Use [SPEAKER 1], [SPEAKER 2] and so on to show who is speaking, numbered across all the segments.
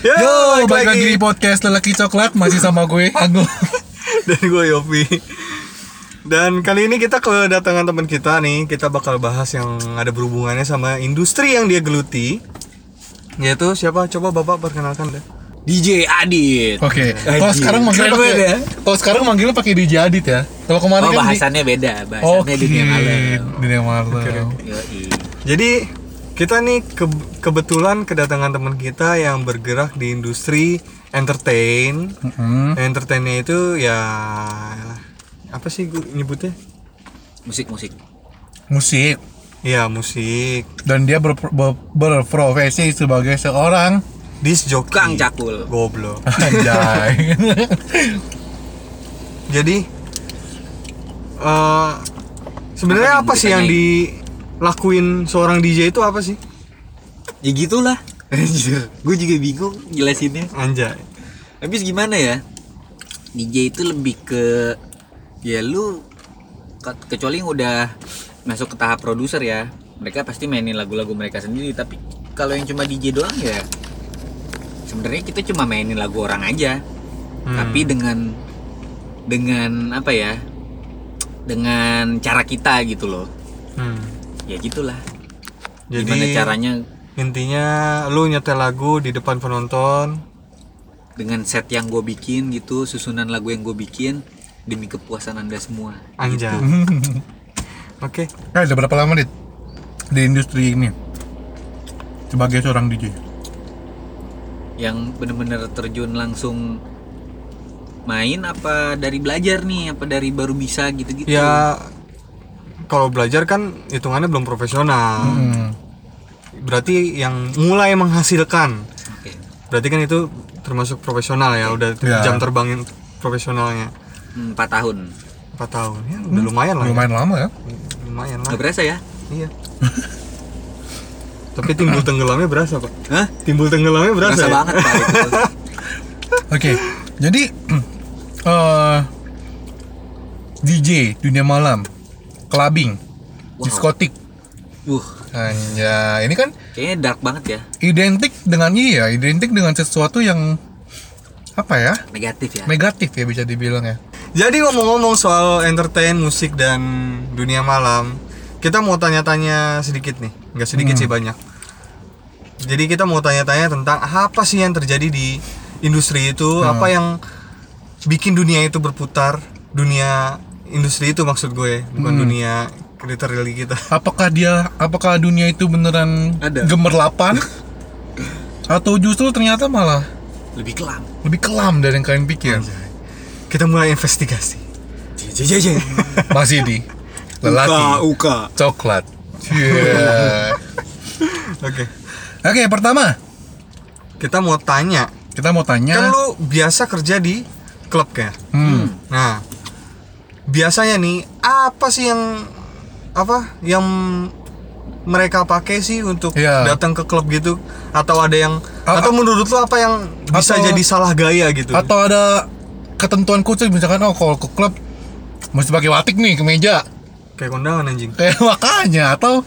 [SPEAKER 1] Yo,
[SPEAKER 2] Yo, balik lagi di podcast Lelaki Coklat masih sama gue Anggo.
[SPEAKER 1] Dan gue Yopi Dan kali ini kita kedatangan teman kita nih Kita bakal bahas yang ada berhubungannya sama industri yang dia geluti Yaitu siapa? Coba bapak perkenalkan deh
[SPEAKER 3] DJ Adit.
[SPEAKER 2] Oke.
[SPEAKER 3] Anjing.
[SPEAKER 2] Kalau sekarang manggilnya
[SPEAKER 3] Keren
[SPEAKER 2] pakai
[SPEAKER 3] banget ya.
[SPEAKER 2] Kalau sekarang manggilnya pakai DJ Adit ya. Kalau kemarin
[SPEAKER 3] Oh
[SPEAKER 2] kan
[SPEAKER 3] bahasannya beda,
[SPEAKER 2] di... Oke.
[SPEAKER 3] bahasannya dunia malam.
[SPEAKER 2] Dunia malam.
[SPEAKER 3] Yoi.
[SPEAKER 1] Jadi kita nih ke- kebetulan kedatangan teman kita yang bergerak di industri entertain
[SPEAKER 2] Mm-mm.
[SPEAKER 1] Entertainnya itu ya apa sih gue nyebutnya?
[SPEAKER 3] Musik-musik.
[SPEAKER 2] Musik
[SPEAKER 1] Ya musik,
[SPEAKER 2] dan dia ber- ber- berprofesi sebagai seorang
[SPEAKER 1] disc jockey,
[SPEAKER 3] Kang Cakul.
[SPEAKER 1] goblok.
[SPEAKER 2] anjay.
[SPEAKER 1] Jadi eh sebenarnya apa
[SPEAKER 3] Apa yang
[SPEAKER 1] sih yang dilakuin seorang DJ itu apa sih?
[SPEAKER 3] Ya gitulah. Anjir, gue juga bingung jelasinnya.
[SPEAKER 1] Anjay.
[SPEAKER 3] Habis gimana ya? DJ itu lebih ke ya lu ke- kecuali yang udah masuk ke tahap produser ya. Mereka pasti mainin lagu-lagu mereka sendiri, tapi kalau yang cuma DJ doang ya sebenarnya kita cuma mainin lagu orang aja.
[SPEAKER 1] Hmm.
[SPEAKER 3] Tapi dengan dengan apa ya? Dengan cara kita gitu loh.
[SPEAKER 1] Hmm.
[SPEAKER 3] Ya gitulah.
[SPEAKER 1] Jadi
[SPEAKER 3] Gimana caranya
[SPEAKER 1] intinya lu nyetel lagu di depan penonton.
[SPEAKER 3] dengan set yang gue bikin gitu, susunan lagu yang gue bikin demi kepuasan anda semua.
[SPEAKER 1] Anjay. Gitu. Oke.
[SPEAKER 2] Eh, udah berapa lama dit di industri ini sebagai seorang DJ?
[SPEAKER 3] yang bener-bener terjun langsung main apa dari belajar nih apa dari baru bisa gitu-gitu
[SPEAKER 1] Ya kalau belajar kan hitungannya belum profesional.
[SPEAKER 2] Hmm.
[SPEAKER 1] Berarti yang mulai menghasilkan.
[SPEAKER 3] Oke.
[SPEAKER 1] Berarti kan itu termasuk profesional ya, udah
[SPEAKER 2] Ya.
[SPEAKER 1] jam terbangin profesionalnya.
[SPEAKER 3] Hmm, empat tahun
[SPEAKER 1] 4 tahun. Ya udah lumayan lah. ya.
[SPEAKER 2] Lumayan lama ya.
[SPEAKER 1] Lumayan lah.
[SPEAKER 3] nggak berasa ya
[SPEAKER 1] Iya. Tapi timbul tenggelamnya berasa, Pak.
[SPEAKER 3] Hah?
[SPEAKER 1] Timbul tenggelamnya berasa.
[SPEAKER 3] berasa
[SPEAKER 1] ya?
[SPEAKER 3] banget pak itu.
[SPEAKER 2] Oke, jadi eh DJ dunia malam, clubbing,
[SPEAKER 3] Wow.
[SPEAKER 2] diskotik.
[SPEAKER 3] uh
[SPEAKER 2] Anja, ini kan
[SPEAKER 3] kayaknya dark banget ya
[SPEAKER 2] identik dengan iya, identik dengan sesuatu yang apa ya?
[SPEAKER 3] negatif ya
[SPEAKER 2] Negatif ya bisa dibilang ya.
[SPEAKER 1] Jadi ngomong-ngomong soal entertain, musik dan dunia malam, kita mau tanya-tanya sedikit nih. Nggak sedikit
[SPEAKER 3] Hmm.
[SPEAKER 1] sih banyak. Jadi kita mau tanya-tanya tentang apa sih yang terjadi di industri itu,
[SPEAKER 3] Hmm.
[SPEAKER 1] apa yang bikin dunia itu berputar, dunia industri itu maksud gue, bukan
[SPEAKER 3] Hmm.
[SPEAKER 1] dunia literally kita.
[SPEAKER 2] Apakah dia apakah dunia itu beneran
[SPEAKER 3] Ada.
[SPEAKER 2] gemerlapan? Atau justru ternyata malah
[SPEAKER 3] lebih kelam
[SPEAKER 2] lebih kelam dari yang kalian pikir?
[SPEAKER 1] Kita mulai investigasi.
[SPEAKER 3] Jeng-jeng-jeng.
[SPEAKER 2] Masih di lelaki
[SPEAKER 3] uka
[SPEAKER 2] coklat. Yeah.
[SPEAKER 1] Oke.
[SPEAKER 2] Oke, pertama
[SPEAKER 1] Kita mau tanya
[SPEAKER 2] kita mau
[SPEAKER 1] Kan
[SPEAKER 2] tanya
[SPEAKER 1] lu biasa kerja di klub kayak.
[SPEAKER 2] Hmm.
[SPEAKER 1] Nah, biasanya nih apa sih yang apa yang mereka pakai sih untuk
[SPEAKER 2] Iya.
[SPEAKER 1] datang ke klub gitu atau ada yang
[SPEAKER 2] A-
[SPEAKER 1] atau menurut lu apa yang bisa
[SPEAKER 2] Atau-
[SPEAKER 1] jadi salah gaya gitu?
[SPEAKER 2] Atau ada ketentuan khusus misalkan oh kalau ke klub mesti pakai watik nih kemeja.
[SPEAKER 1] Kayak kondangan anjing.
[SPEAKER 2] Kayak makanya atau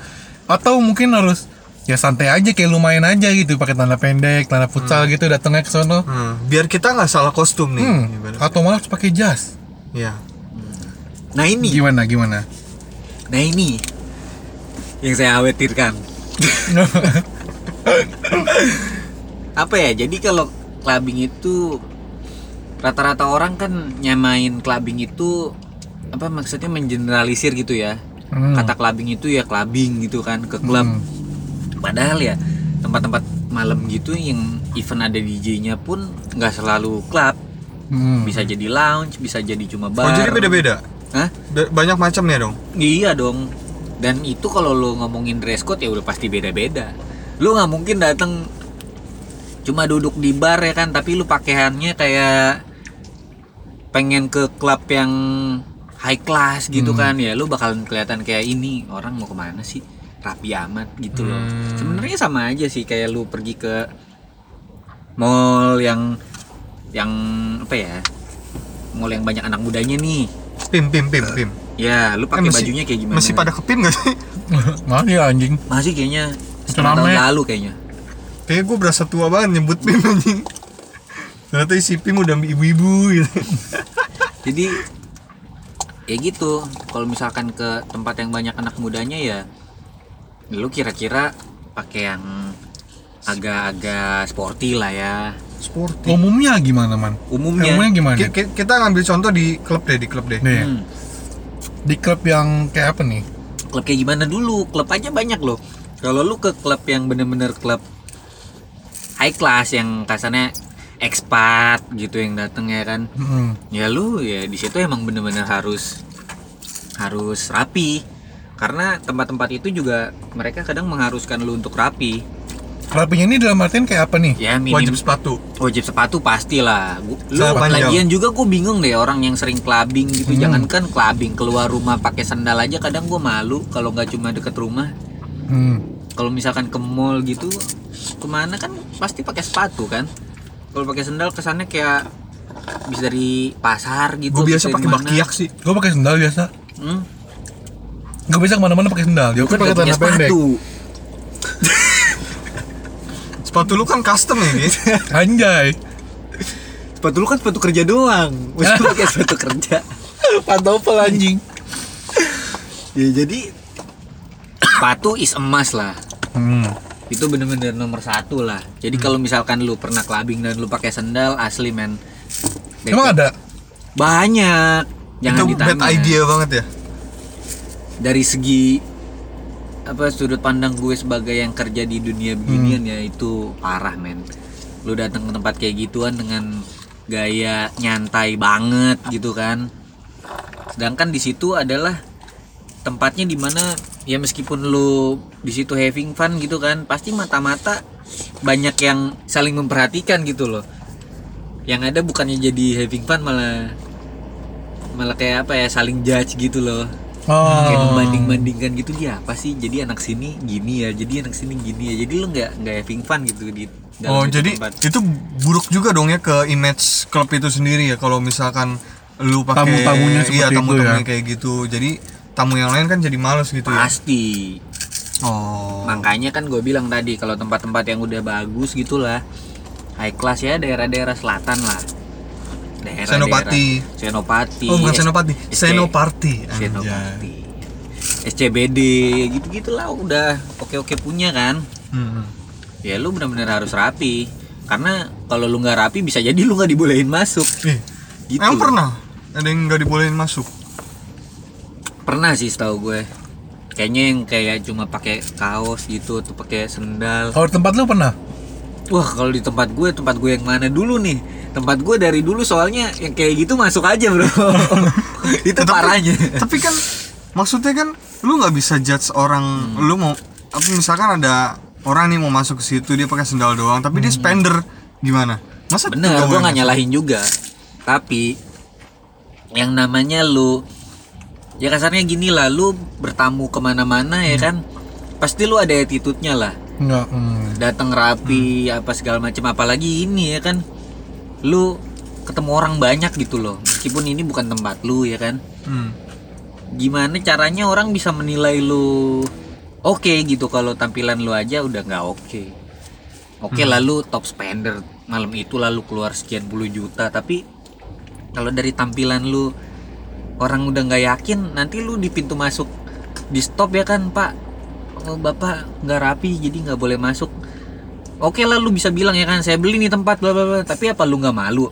[SPEAKER 2] atau mungkin harus ya santai aja kayak lumayan aja gitu pakai tanda pendek, tanda futsal gitu datangnya ke sono.
[SPEAKER 1] Hmm, biar kita nggak salah kostum nih.
[SPEAKER 2] Hmm.
[SPEAKER 1] Ibaratnya.
[SPEAKER 2] Atau malah harus pakai jas.
[SPEAKER 1] Iya.
[SPEAKER 3] nah ini
[SPEAKER 2] Gimana gimana?
[SPEAKER 3] nah ini yang saya khawatirkan apa ya jadi kalau clubbing itu rata-rata orang kan nyamain clubbing itu apa maksudnya mengeneralisir gitu ya
[SPEAKER 2] Hmm.
[SPEAKER 3] kata clubbing itu ya clubbing gitu kan ke klub padahal ya tempat-tempat malam gitu yang event ada DJ-nya pun nggak selalu klub
[SPEAKER 2] Hmm. kan
[SPEAKER 3] bisa jadi lounge bisa jadi cuma
[SPEAKER 1] Oh,
[SPEAKER 3] bar
[SPEAKER 1] jadi beda-beda.
[SPEAKER 3] Hah?
[SPEAKER 1] Ba- Banyak macamnya dong.
[SPEAKER 3] Iya dong. Dan itu kalau lo ngomongin dress code ya udah pasti beda-beda. Lo nggak mungkin datang cuma duduk di bar ya kan, tapi lu pakaiannya kayak pengen ke klub yang high class gitu
[SPEAKER 1] Hmm.
[SPEAKER 3] kan ya lu bakalan kelihatan kayak ini orang mau kemana sih rapi amat gitu loh
[SPEAKER 1] Hmm.
[SPEAKER 3] sebenarnya sama aja sih kayak lu pergi ke mall yang yang apa ya mall yang banyak anak mudanya nih
[SPEAKER 1] Pim pim pim pim.
[SPEAKER 3] ya lu
[SPEAKER 1] Eh,
[SPEAKER 3] pakai
[SPEAKER 1] masih-
[SPEAKER 3] bajunya kayak gimana
[SPEAKER 1] Masih pada kepim gak sih?
[SPEAKER 2] Mana ya anjing?
[SPEAKER 3] masih kayaknya
[SPEAKER 2] Itu
[SPEAKER 3] setengah tahun
[SPEAKER 2] namanya-
[SPEAKER 3] lalu kayaknya
[SPEAKER 1] Kayaknya gue berasa tua banget nyebut PIM anjing. Ternyata isi PIM udah ibu-ibu gitu.
[SPEAKER 3] jadi ya gitu kalau misalkan ke tempat yang banyak anak mudanya ya lu kira-kira pakai yang agak-agak sporty lah ya
[SPEAKER 1] Sporty.
[SPEAKER 2] Umumnya gimana man?
[SPEAKER 3] umumnya
[SPEAKER 2] Umumnya gimana?
[SPEAKER 1] Ki-
[SPEAKER 2] Dit?
[SPEAKER 1] ki- Kita ngambil contoh di klub deh, di klub deh.
[SPEAKER 2] Nih,
[SPEAKER 3] Hmm.
[SPEAKER 2] di klub yang kayak apa nih?
[SPEAKER 3] klub kayak gimana dulu klub aja banyak loh kalau lu ke klub yang bener-bener klub high class yang kasarnya expat gitu yang dateng ya kan
[SPEAKER 2] Hmm.
[SPEAKER 3] ya lu ya di situ emang bener-bener harus harus rapi karena tempat-tempat itu juga mereka kadang mengharuskan lu untuk rapi
[SPEAKER 2] Rapinya ini dalam artian kayak apa nih?
[SPEAKER 3] ya minim
[SPEAKER 1] Wajib
[SPEAKER 3] wajib,
[SPEAKER 1] sepatu.
[SPEAKER 3] sepatu pastilah Gu- lu
[SPEAKER 1] Celana panjang.
[SPEAKER 3] lagian juga gue bingung deh orang yang sering clubbing
[SPEAKER 1] Hmm.
[SPEAKER 3] gitu jangankan clubbing keluar rumah pakai sandal aja kadang gue malu kalau nggak cuma deket rumah
[SPEAKER 2] Hmm.
[SPEAKER 3] kalau misalkan ke mall gitu kemana kan pasti pakai sepatu kan kalau pakai sandal kesannya kayak bisa dari pasar gitu
[SPEAKER 1] Gue biasa
[SPEAKER 3] bisa
[SPEAKER 1] pakai
[SPEAKER 3] dimana.
[SPEAKER 1] bakiak sih.
[SPEAKER 2] Gue pakai sandal biasa.
[SPEAKER 3] hmm?
[SPEAKER 2] Gue bisa kemana-mana pakai sandal. Dia
[SPEAKER 3] Lu
[SPEAKER 2] kan
[SPEAKER 3] kan
[SPEAKER 2] pakai
[SPEAKER 3] gak punya
[SPEAKER 2] celana pendek.
[SPEAKER 3] sepatu
[SPEAKER 1] Sepatu lu kan custom ya, Gi?
[SPEAKER 2] Anjay.
[SPEAKER 3] sepatu lu kan sepatu kerja doang mesti lu pakai sepatu kerja
[SPEAKER 2] Pantofel anjing.
[SPEAKER 3] ya jadi sepatu is emas lah
[SPEAKER 2] Hmm.
[SPEAKER 3] itu bener-bener nomor satu lah jadi kalau misalkan lu pernah clubbing dan lu pakai sendal asli men
[SPEAKER 2] Emang ada?
[SPEAKER 3] banyak jangan
[SPEAKER 1] Itu
[SPEAKER 3] ditanya
[SPEAKER 1] bad idea banget ya.
[SPEAKER 3] dari segi apa sudut pandang gue sebagai yang kerja di dunia beginian ya itu parah men lu datang ke tempat kayak gituan dengan gaya nyantai banget gitu kan sedangkan di situ adalah tempatnya dimana ya meskipun lu di situ having fun gitu kan pasti mata-mata banyak yang saling memperhatikan gitu loh yang ada bukannya jadi having fun malah malah kayak apa ya saling judge gitu loh
[SPEAKER 1] Ah.
[SPEAKER 3] kayak
[SPEAKER 2] Oh.
[SPEAKER 3] membanding-bandingkan gitu dia apa sih jadi anak sini gini ya jadi anak sini gini ya jadi lu nggak nggak having fun gitu di dalam
[SPEAKER 1] Oh
[SPEAKER 3] satu
[SPEAKER 1] jadi
[SPEAKER 3] tempat.
[SPEAKER 1] itu buruk juga dong ya ke image klub itu sendiri ya kalau misalkan lu pakai iya,
[SPEAKER 2] Tamu-tamunya seperti itu
[SPEAKER 1] tamu-tamunya
[SPEAKER 2] ya.
[SPEAKER 1] kayak gitu jadi tamu yang lain kan jadi males gitu ya
[SPEAKER 3] pasti
[SPEAKER 1] oh
[SPEAKER 3] makanya kan gue bilang tadi kalau tempat-tempat yang udah bagus gitulah high class ya daerah-daerah selatan lah daerah
[SPEAKER 1] Senopati.
[SPEAKER 3] Senopati
[SPEAKER 1] oh bukan
[SPEAKER 3] S-
[SPEAKER 1] senopati
[SPEAKER 3] SC
[SPEAKER 1] senopati anjay.
[SPEAKER 3] Senopati SCBD gitu gitulah udah oke-oke punya kan
[SPEAKER 1] Hmm.
[SPEAKER 3] ya lu benar-benar harus rapi karena kalau lu nggak rapi bisa jadi lu nggak dibolehin masuk
[SPEAKER 1] Ih,
[SPEAKER 3] gitu
[SPEAKER 1] emang pernah ada yang nggak dibolehin masuk
[SPEAKER 3] pernah sih setahu gue kayaknya yang kayak cuma pakai kaos gitu atau pakai sendal
[SPEAKER 2] Kalau di tempat lu pernah?
[SPEAKER 3] wah kalau di tempat gue tempat gue yang mana dulu nih tempat gue dari dulu soalnya yang kayak gitu masuk aja bro itu
[SPEAKER 1] Tapi-
[SPEAKER 3] parahnya
[SPEAKER 1] tapi kan maksudnya kan lu nggak bisa judge orang
[SPEAKER 3] Hmm.
[SPEAKER 1] lu mau apa misalkan ada orang nih mau masuk ke situ dia pakai sendal doang tapi dia spender gimana masa
[SPEAKER 3] Hmm. bener
[SPEAKER 1] nggak
[SPEAKER 3] gue
[SPEAKER 1] boleh
[SPEAKER 3] nggak nyalahin juga tapi yang namanya lu ya kasarnya gini lah lu bertamu kemana-mana ya kan pasti lu ada attitude-nya lah
[SPEAKER 2] Enggak. Hmm.
[SPEAKER 3] datang rapi apa segala macam apalagi ini ya kan lu ketemu orang banyak gitu loh meskipun ini bukan tempat lu ya kan
[SPEAKER 1] Hmm.
[SPEAKER 3] gimana caranya orang bisa menilai lu oke gitu kalau tampilan lu aja udah nggak oke oke lalu top spender malam itu lalu keluar sekian puluh juta tapi kalau dari tampilan lu orang udah nggak yakin nanti lu di pintu masuk di stop ya kan pak oh, bapak nggak rapi jadi nggak boleh masuk oke lah lu bisa bilang ya kan saya beli nih tempat bla bla bla tapi apa lu nggak malu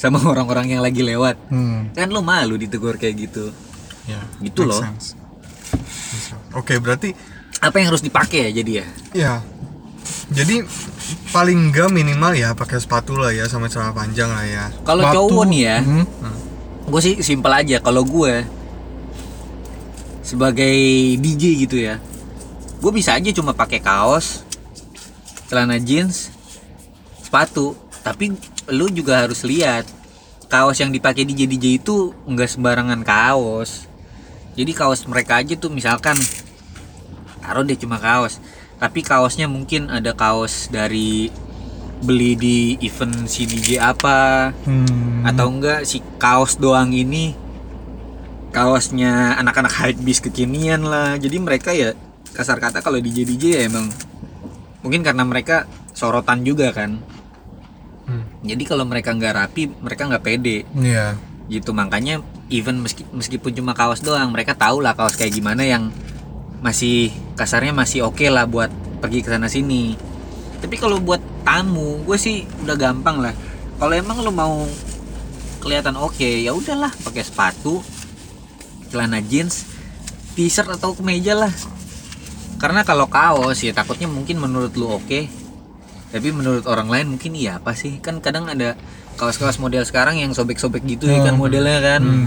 [SPEAKER 3] sama orang-orang yang lagi lewat
[SPEAKER 2] Hmm.
[SPEAKER 3] kan lu malu ditegur kayak gitu
[SPEAKER 1] Ya,
[SPEAKER 3] Gitu
[SPEAKER 1] makes
[SPEAKER 3] loh.
[SPEAKER 1] sense. Makes sense. Oke, berarti
[SPEAKER 3] apa yang harus dipakai ya jadi ya
[SPEAKER 1] ya. Jadi paling enggak minimal ya pakai sepatu lah ya sama celana panjang lah ya.
[SPEAKER 3] kalau
[SPEAKER 2] Sepatu.
[SPEAKER 3] cowok nih ya
[SPEAKER 2] Hmm.
[SPEAKER 3] gue sih simpel aja kalau gue sebagai DJ gitu ya gue bisa aja cuma pakai kaos celana jeans sepatu tapi lu juga harus lihat kaos yang dipakai DJ DJ itu nggak sembarangan kaos jadi kaos mereka aja tuh misalkan taruh deh cuma kaos tapi kaosnya mungkin ada kaos dari beli di event si DJ apa
[SPEAKER 2] Hmm.
[SPEAKER 3] atau enggak si kaos doang ini kaosnya anak-anak hypebeast kekinian lah jadi mereka ya kasar kata kalau DJ DJ ya emang mungkin karena mereka sorotan juga kan
[SPEAKER 1] Hmm.
[SPEAKER 3] jadi kalau mereka nggak rapi mereka nggak pede
[SPEAKER 2] Iya.
[SPEAKER 3] gitu makanya even meski, meskipun cuma kaos doang mereka tahu lah kaos kayak gimana yang masih kasarnya masih oke lah buat pergi ke sana sini tapi kalau buat tamu gue sih udah gampang lah kalau emang lu mau kelihatan oke ya udahlah pakai sepatu celana jeans t-shirt atau kemeja lah karena kalau kaos ya takutnya mungkin menurut lu oke tapi menurut orang lain mungkin iya apa sih kan kadang ada kaos-kaos model sekarang yang sobek-sobek gitu ya kan
[SPEAKER 1] Oh,
[SPEAKER 3] modelnya kan
[SPEAKER 1] hmm.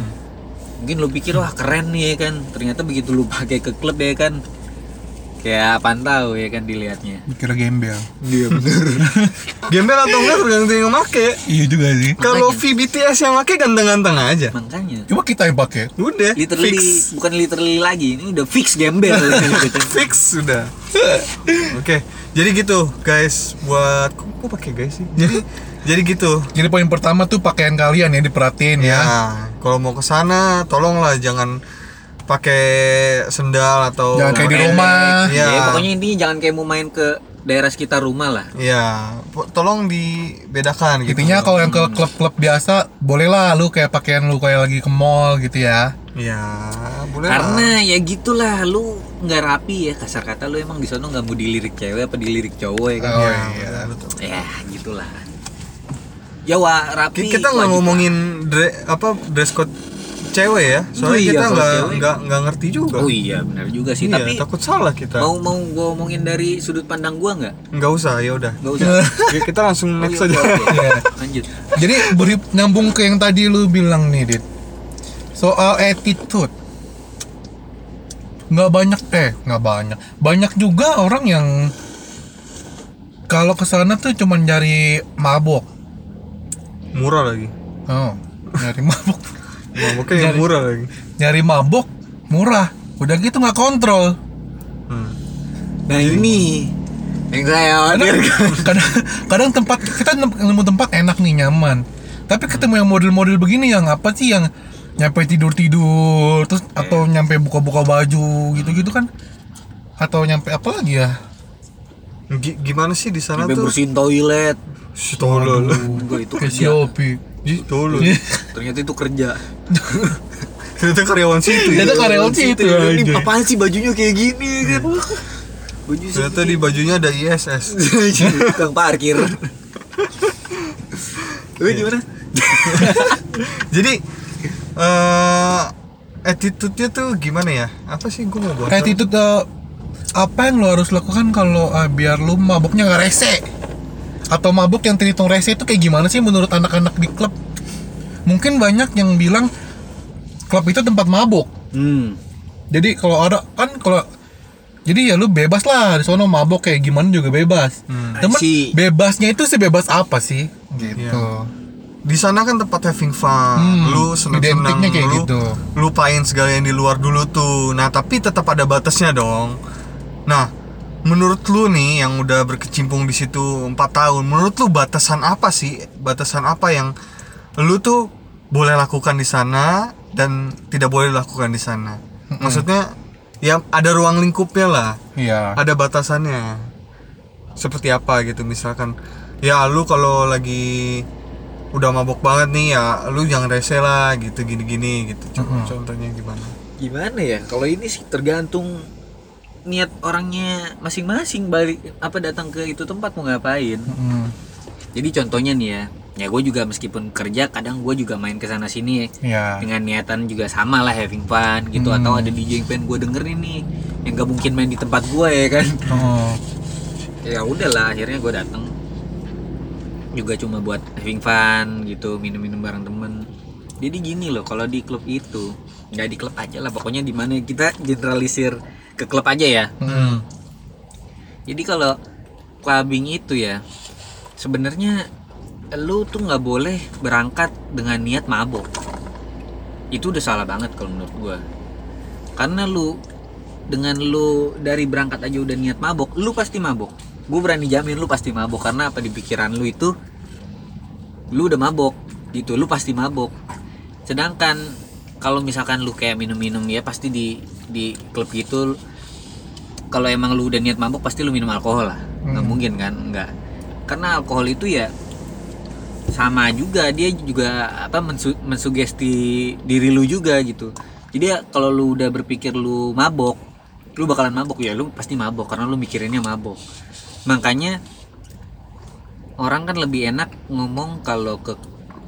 [SPEAKER 3] mungkin lu pikir wah keren nih ya kan ternyata begitu lu pakai ke klub ya kan kayak apaan tahu ya kan dilihatnya
[SPEAKER 2] Dikira gembel.
[SPEAKER 1] Iya bener Gembel atau enggak tergantung yang make
[SPEAKER 2] Iya juga sih.
[SPEAKER 1] Kalau V BTS yang make ganteng-ganteng aja
[SPEAKER 3] makanya
[SPEAKER 2] Coba kita yang pakai.
[SPEAKER 1] Udah
[SPEAKER 3] literally
[SPEAKER 1] fix
[SPEAKER 3] bukan literally lagi ini udah fix gembel
[SPEAKER 1] Fix sudah Oke jadi gitu guys Buat Kok, kok pakai guys sih? Jadi jadi gitu
[SPEAKER 2] Jadi poin pertama tuh pakaian kalian ya diperhatiin
[SPEAKER 1] Ya,
[SPEAKER 2] ya.
[SPEAKER 1] kalau mau ke sana tolonglah jangan pakai sendal atau
[SPEAKER 2] Jangan kayak di rumah.
[SPEAKER 1] Iya.
[SPEAKER 3] ya pokoknya intinya jangan kayak mau main ke daerah sekitar rumah lah
[SPEAKER 1] Iya, po- tolong dibedakan gitu.
[SPEAKER 2] Intinya kalau yang ke klub-klub biasa bolehlah lu kayak pakaian lu kayak lagi ke mall gitu ya.
[SPEAKER 1] Iya, boleh. lah.
[SPEAKER 3] karena ya gitulah lu nggak rapi ya kasar kata lu emang di sana nggak mau dilirik cewek apa dilirik cowok ya kan
[SPEAKER 2] Oh,
[SPEAKER 1] Iya,
[SPEAKER 2] iya.
[SPEAKER 1] betul.
[SPEAKER 3] ya gitulah ya wa rapi
[SPEAKER 1] Ki- kita nggak
[SPEAKER 3] wajib.
[SPEAKER 1] ngomongin dre- apa dress code cewek ya soalnya
[SPEAKER 3] Oh iya,
[SPEAKER 1] kita
[SPEAKER 3] kalau
[SPEAKER 1] nggak
[SPEAKER 3] cewek.
[SPEAKER 1] nggak nggak ngerti juga
[SPEAKER 3] oh iya benar juga sih
[SPEAKER 1] Iya,
[SPEAKER 3] tapi
[SPEAKER 1] takut salah kita
[SPEAKER 3] mau mau gua omongin dari sudut pandang gua nggak
[SPEAKER 1] nggak usah ya udah
[SPEAKER 3] nggak usah Oh,
[SPEAKER 1] Ya, kita langsung next
[SPEAKER 3] iya,
[SPEAKER 1] aja
[SPEAKER 3] oke, oke.
[SPEAKER 2] Iya.
[SPEAKER 3] lanjut
[SPEAKER 2] Jadi beri, nyambung ke yang tadi lu bilang nih, Dit. Soal attitude. Nggak banyak eh nggak banyak. Banyak juga orang yang kalau kesana tuh cuman nyari mabok.
[SPEAKER 1] murah lagi
[SPEAKER 2] Oh, nyari mabok.
[SPEAKER 1] mabuknya yang murah lagi
[SPEAKER 2] nyari mabok murah. Udah gitu nggak kontrol.
[SPEAKER 1] hmm.
[SPEAKER 3] nah ini yang saya khawatirkan
[SPEAKER 2] kadang kadang tempat kita nem- nemu tempat enak nih nyaman tapi ketemu yang model-model begini yang apa sih yang nyampe tidur tidur terus atau
[SPEAKER 3] Iya.
[SPEAKER 2] nyampe buka-buka baju gitu-gitu kan atau nyampe apa lagi ya
[SPEAKER 1] Gi- gimana sih di sana
[SPEAKER 3] sampai
[SPEAKER 1] tuh
[SPEAKER 3] bersihin toilet
[SPEAKER 1] Shh, tolol
[SPEAKER 3] Enggak, itu
[SPEAKER 2] kayak
[SPEAKER 3] kerja
[SPEAKER 2] Shopee.
[SPEAKER 1] Ih, tolol
[SPEAKER 3] ternyata itu kerja
[SPEAKER 1] ternyata karyawan situ ya.
[SPEAKER 2] Ternyata karyawan situ,
[SPEAKER 3] Iya, Ini
[SPEAKER 2] anjay.
[SPEAKER 3] apaan sih bajunya kayak gini kan baju
[SPEAKER 1] ternyata di bajunya ada ISS
[SPEAKER 3] tukang parkir lu gimana
[SPEAKER 1] jadi eh attitude-nya tuh gimana ya apa sih gue mau bahas
[SPEAKER 2] attitude eh, apa yang lo harus lakukan kalau ah, biar lo maboknya nggak rese atau mabok yang terhitung rese itu kayak gimana sih menurut anak-anak di klub mungkin banyak yang bilang klub itu tempat mabok
[SPEAKER 3] hmm
[SPEAKER 2] jadi kalau ada kan kalau jadi ya lu bebas lah di sono mabok kayak gimana juga bebas
[SPEAKER 1] Hmm.
[SPEAKER 2] temen
[SPEAKER 3] I see.
[SPEAKER 2] bebasnya itu sebebas apa sih gitu
[SPEAKER 1] di sana kan tempat having fun
[SPEAKER 2] Hmm,
[SPEAKER 1] lu seneng-seneng
[SPEAKER 2] identiknya kayak
[SPEAKER 1] lu
[SPEAKER 2] gitu.
[SPEAKER 1] lupain segala yang di luar dulu tuh nah tapi tetap ada batasnya dong nah menurut lu nih yang udah berkecimpung di situ empat tahun menurut lu batasan apa sih batasan apa yang lu tuh boleh lakukan di sana dan tidak boleh dilakukan di sana
[SPEAKER 2] Hmm.
[SPEAKER 1] maksudnya ya ada ruang lingkupnya lah
[SPEAKER 2] iya
[SPEAKER 1] ada batasannya seperti apa gitu misalkan ya lu kalau lagi udah mabok banget nih ya lu jangan rese lah gitu gini-gini gitu Co- contohnya gimana
[SPEAKER 3] gimana ya kalau ini sih tergantung niat orangnya masing-masing balik apa datang ke itu tempat mau ngapain
[SPEAKER 2] Mm,
[SPEAKER 3] jadi contohnya nih ya ya gue juga meskipun kerja kadang gue juga main ke sana sini ya
[SPEAKER 2] iya
[SPEAKER 3] dengan niatan juga sama lah having fun gitu
[SPEAKER 2] Hmm.
[SPEAKER 3] atau ada DJ yang pengen gue dengerin nih yang gak mungkin main di tempat gue ya kan
[SPEAKER 2] Oh,
[SPEAKER 3] ya udahlah akhirnya gue datang juga cuma buat having fun gitu minum-minum bareng temen jadi gini loh kalau di klub itu nggak di klub aja lah pokoknya di mana kita generalisir ke klub aja ya
[SPEAKER 2] mm,
[SPEAKER 3] jadi kalau clubbing itu ya sebenarnya lu tuh nggak boleh berangkat dengan niat mabok itu udah salah banget kalau menurut gua karena lu dengan lu dari berangkat aja udah niat mabok lu pasti mabok gue berani jamin lu pasti mabok karena apa di pikiran lu itu lu udah mabok gitu lu pasti mabok sedangkan kalau misalkan lu kayak minum-minum ya pasti di di klub gitu kalau emang lu udah niat mabuk pasti lu minum alkohol lah nggak mungkin kan nggak karena alkohol itu ya sama juga dia juga apa mensu- mensugesti diri lu juga gitu jadi ya, kalau lu udah berpikir lu mabok lu bakalan mabok ya lu pasti mabok karena lu mikirinnya mabok makanya orang kan lebih enak ngomong kalau ke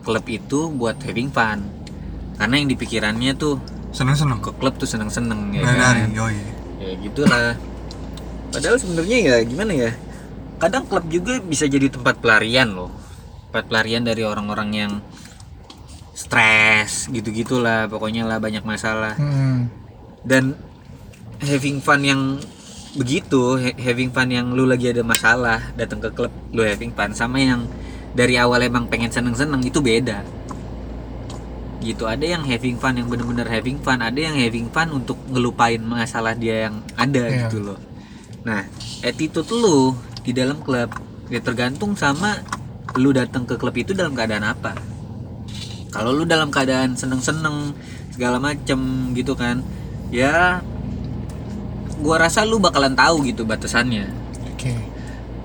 [SPEAKER 3] klub itu buat having fun karena yang di pikirannya tuh
[SPEAKER 1] seneng seneng
[SPEAKER 3] ke klub tuh seneng-seneng
[SPEAKER 2] Iya
[SPEAKER 3] ya
[SPEAKER 1] nari nari
[SPEAKER 3] kan?
[SPEAKER 1] Nah, yoi
[SPEAKER 3] ya gitulah padahal sebenarnya ya gimana ya kadang klub juga bisa jadi tempat pelarian loh tempat pelarian dari orang-orang yang stres gitu-gitulah pokoknya lah banyak masalah
[SPEAKER 2] Hmm.
[SPEAKER 3] dan having fun yang begitu ha- having fun yang lu lagi ada masalah datang ke klub lu having fun sama yang dari awal emang pengen seneng-seneng itu beda gitu ada yang having fun yang bener-bener having fun ada yang having fun untuk ngelupain masalah dia yang ada
[SPEAKER 2] Iya.
[SPEAKER 3] gitu loh nah attitude lu di dalam klub ya tergantung sama lu datang ke klub itu dalam keadaan apa kalau lu dalam keadaan seneng-seneng segala macem gitu kan ya gua rasa lu bakalan tahu gitu batasannya
[SPEAKER 2] Oke.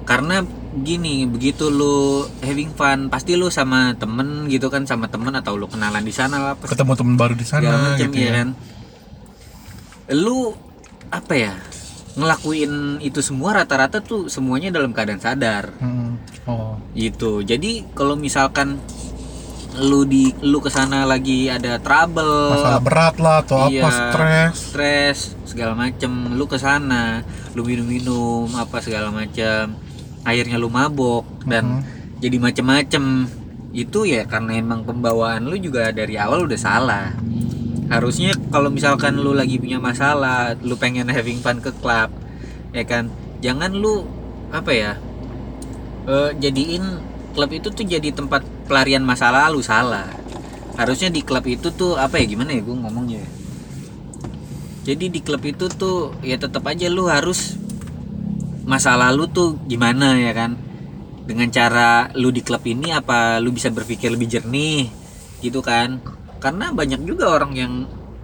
[SPEAKER 3] karena gini begitu lu having fun pasti lu sama temen gitu kan sama temen atau lu kenalan di sana lah pasti
[SPEAKER 2] Ketemu teman baru di
[SPEAKER 3] segala
[SPEAKER 2] sana
[SPEAKER 3] macem,
[SPEAKER 2] gitu
[SPEAKER 3] iya
[SPEAKER 2] ya.
[SPEAKER 3] kan lu apa ya ngelakuin itu semua rata-rata tuh semuanya dalam keadaan sadar
[SPEAKER 2] Hmm. Oh.
[SPEAKER 3] gitu jadi kalau misalkan lu di lu kesana lagi ada trouble
[SPEAKER 2] Masalah berat lah atau apa
[SPEAKER 3] Iya,
[SPEAKER 2] stres.
[SPEAKER 3] stres segala macem lu kesana lu minum-minum apa segala macem akhirnya lu mabok dan jadi macem-macem itu ya karena emang pembawaan lu juga dari awal udah salah harusnya kalau misalkan lu lagi punya masalah lu pengen having fun ke klub ya kan jangan lu apa ya eh, jadiin klub itu tuh jadi tempat pelarian masa lalu salah harusnya di klub itu tuh apa ya gimana ya gue ngomongnya ya? jadi di klub itu tuh ya tetap aja lu harus masa lalu tuh gimana ya kan dengan cara lu di klub ini apa lu bisa berpikir lebih jernih gitu kan karena banyak juga orang yang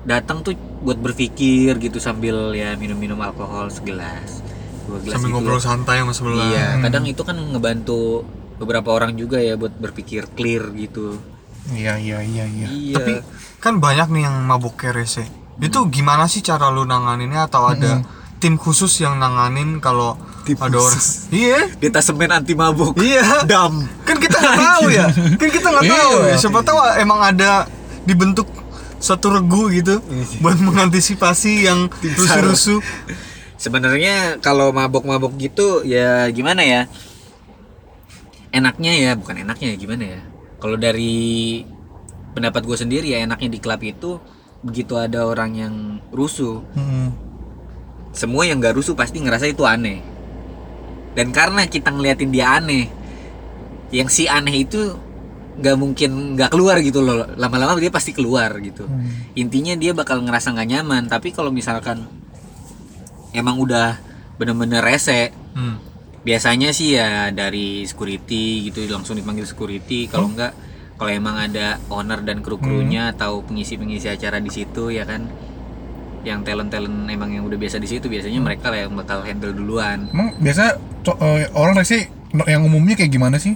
[SPEAKER 3] datang tuh buat berpikir gitu sambil ya minum-minum alkohol segelas dua gelas
[SPEAKER 1] sambil
[SPEAKER 3] gitu.
[SPEAKER 1] ngobrol santai sama sebelah
[SPEAKER 3] Iya,
[SPEAKER 2] Hmm.
[SPEAKER 3] kadang itu kan ngebantu beberapa orang juga ya buat berpikir clear gitu.
[SPEAKER 2] Iya iya iya iya.
[SPEAKER 3] Iya.
[SPEAKER 1] tapi kan banyak nih yang mabuk kerese itu gimana sih cara lu nanganinnya atau ada tim khusus yang nanganin kalau
[SPEAKER 3] Tim
[SPEAKER 1] ada orang iya
[SPEAKER 3] detasemen anti mabuk.
[SPEAKER 1] iya
[SPEAKER 3] Dam.
[SPEAKER 1] kan kita nggak tahu ya kan kita nggak tahu
[SPEAKER 2] Iya.
[SPEAKER 1] ya siapa tahu emang ada dibentuk satu regu gitu
[SPEAKER 2] Iya.
[SPEAKER 1] buat mengantisipasi yang rusuh-rusuh
[SPEAKER 3] Sebenarnya kalau mabok-mabok gitu ya gimana ya? Enaknya ya, bukan enaknya ya gimana ya? Kalau dari pendapat gue sendiri ya enaknya di klub itu begitu ada orang yang rusuh,
[SPEAKER 2] Hmm.
[SPEAKER 3] semua yang gak rusuh pasti ngerasa itu aneh dan karena kita ngeliatin dia aneh yang si aneh itu nggak mungkin nggak keluar gitu loh lama-lama dia pasti keluar gitu
[SPEAKER 2] Hmm.
[SPEAKER 3] intinya dia bakal ngerasa nggak nyaman tapi kalau misalkan emang udah bener-bener rese
[SPEAKER 1] Hmm.
[SPEAKER 3] biasanya sih ya dari security gitu langsung dipanggil security kalau enggak kalau emang ada owner dan kru-krunya atau pengisi-pengisi acara di situ ya kan yang talent-talent emang yang udah biasa di situ biasanya mereka lah yang bakal handle duluan
[SPEAKER 2] Emang biasa co- eh, orang resi no- yang umumnya kayak gimana sih?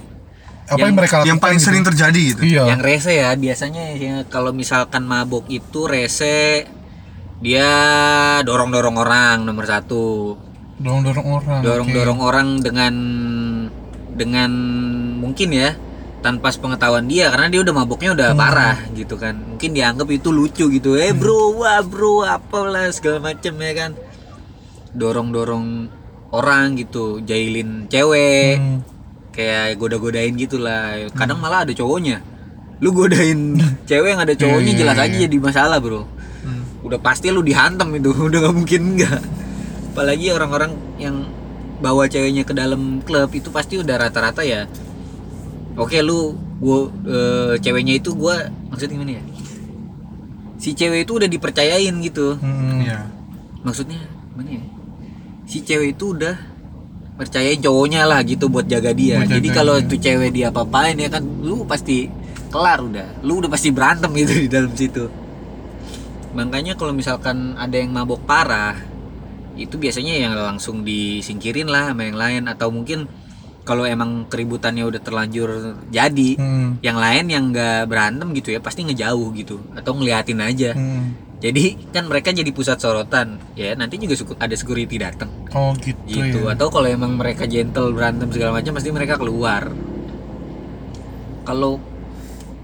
[SPEAKER 2] Apa yang,
[SPEAKER 3] Yang-
[SPEAKER 2] mereka lakukan?
[SPEAKER 1] yang paling
[SPEAKER 2] gitu?
[SPEAKER 1] sering terjadi gitu
[SPEAKER 2] Iya.
[SPEAKER 3] yang rese ya biasanya ya, kalau misalkan mabok itu rese dia dorong-dorong orang nomor satu
[SPEAKER 2] Dorong-dorong orang.
[SPEAKER 3] dorong-dorong orang dengan dengan mungkin ya tanpa pengetahuan dia karena dia udah maboknya udah
[SPEAKER 2] Hmm.
[SPEAKER 3] parah gitu kan mungkin dianggap itu lucu gitu eh bro wah bro apalah segala macem ya kan dorong-dorong orang gitu jailin
[SPEAKER 2] Oke.
[SPEAKER 3] cewek
[SPEAKER 2] Hmm.
[SPEAKER 3] kayak goda-godain gitulah kadang malah ada cowoknya lu godain cewek yang ada cowoknya
[SPEAKER 2] Iya, iya,
[SPEAKER 3] jelas
[SPEAKER 2] iya.
[SPEAKER 3] aja jadi masalah bro
[SPEAKER 1] Hmm.
[SPEAKER 3] udah pasti lu dihantam itu udah nggak mungkin nggak apalagi orang-orang yang bawa ceweknya ke dalam klub itu pasti udah rata-rata ya oke lu gua eh, ceweknya itu gua maksudnya gimana ya si cewek itu udah dipercayain gitu
[SPEAKER 2] Hmm.
[SPEAKER 1] Iya.
[SPEAKER 3] maksudnya gimana ya si cewek itu udah percaya cowoknya lah gitu buat jaga dia
[SPEAKER 2] Buat
[SPEAKER 3] jadi
[SPEAKER 2] jaga
[SPEAKER 3] kalau
[SPEAKER 2] dia.
[SPEAKER 3] itu cewek dia apa-apain ya kan lu pasti kelar udah lu udah pasti berantem gitu di dalam situ makanya kalau misalkan ada yang mabok parah itu biasanya yang langsung disingkirin lah sama yang lain atau mungkin kalau emang keributannya udah terlanjur jadi
[SPEAKER 2] Hmm.
[SPEAKER 3] yang lain yang nggak berantem gitu ya pasti ngejauh gitu atau ngeliatin aja
[SPEAKER 2] Hmm.
[SPEAKER 3] jadi kan mereka jadi pusat sorotan ya nanti juga suku- ada security datang
[SPEAKER 2] Oh gitu,
[SPEAKER 3] gitu
[SPEAKER 2] ya.
[SPEAKER 3] atau kalau emang mereka gentle berantem segala macam pasti mereka keluar kalau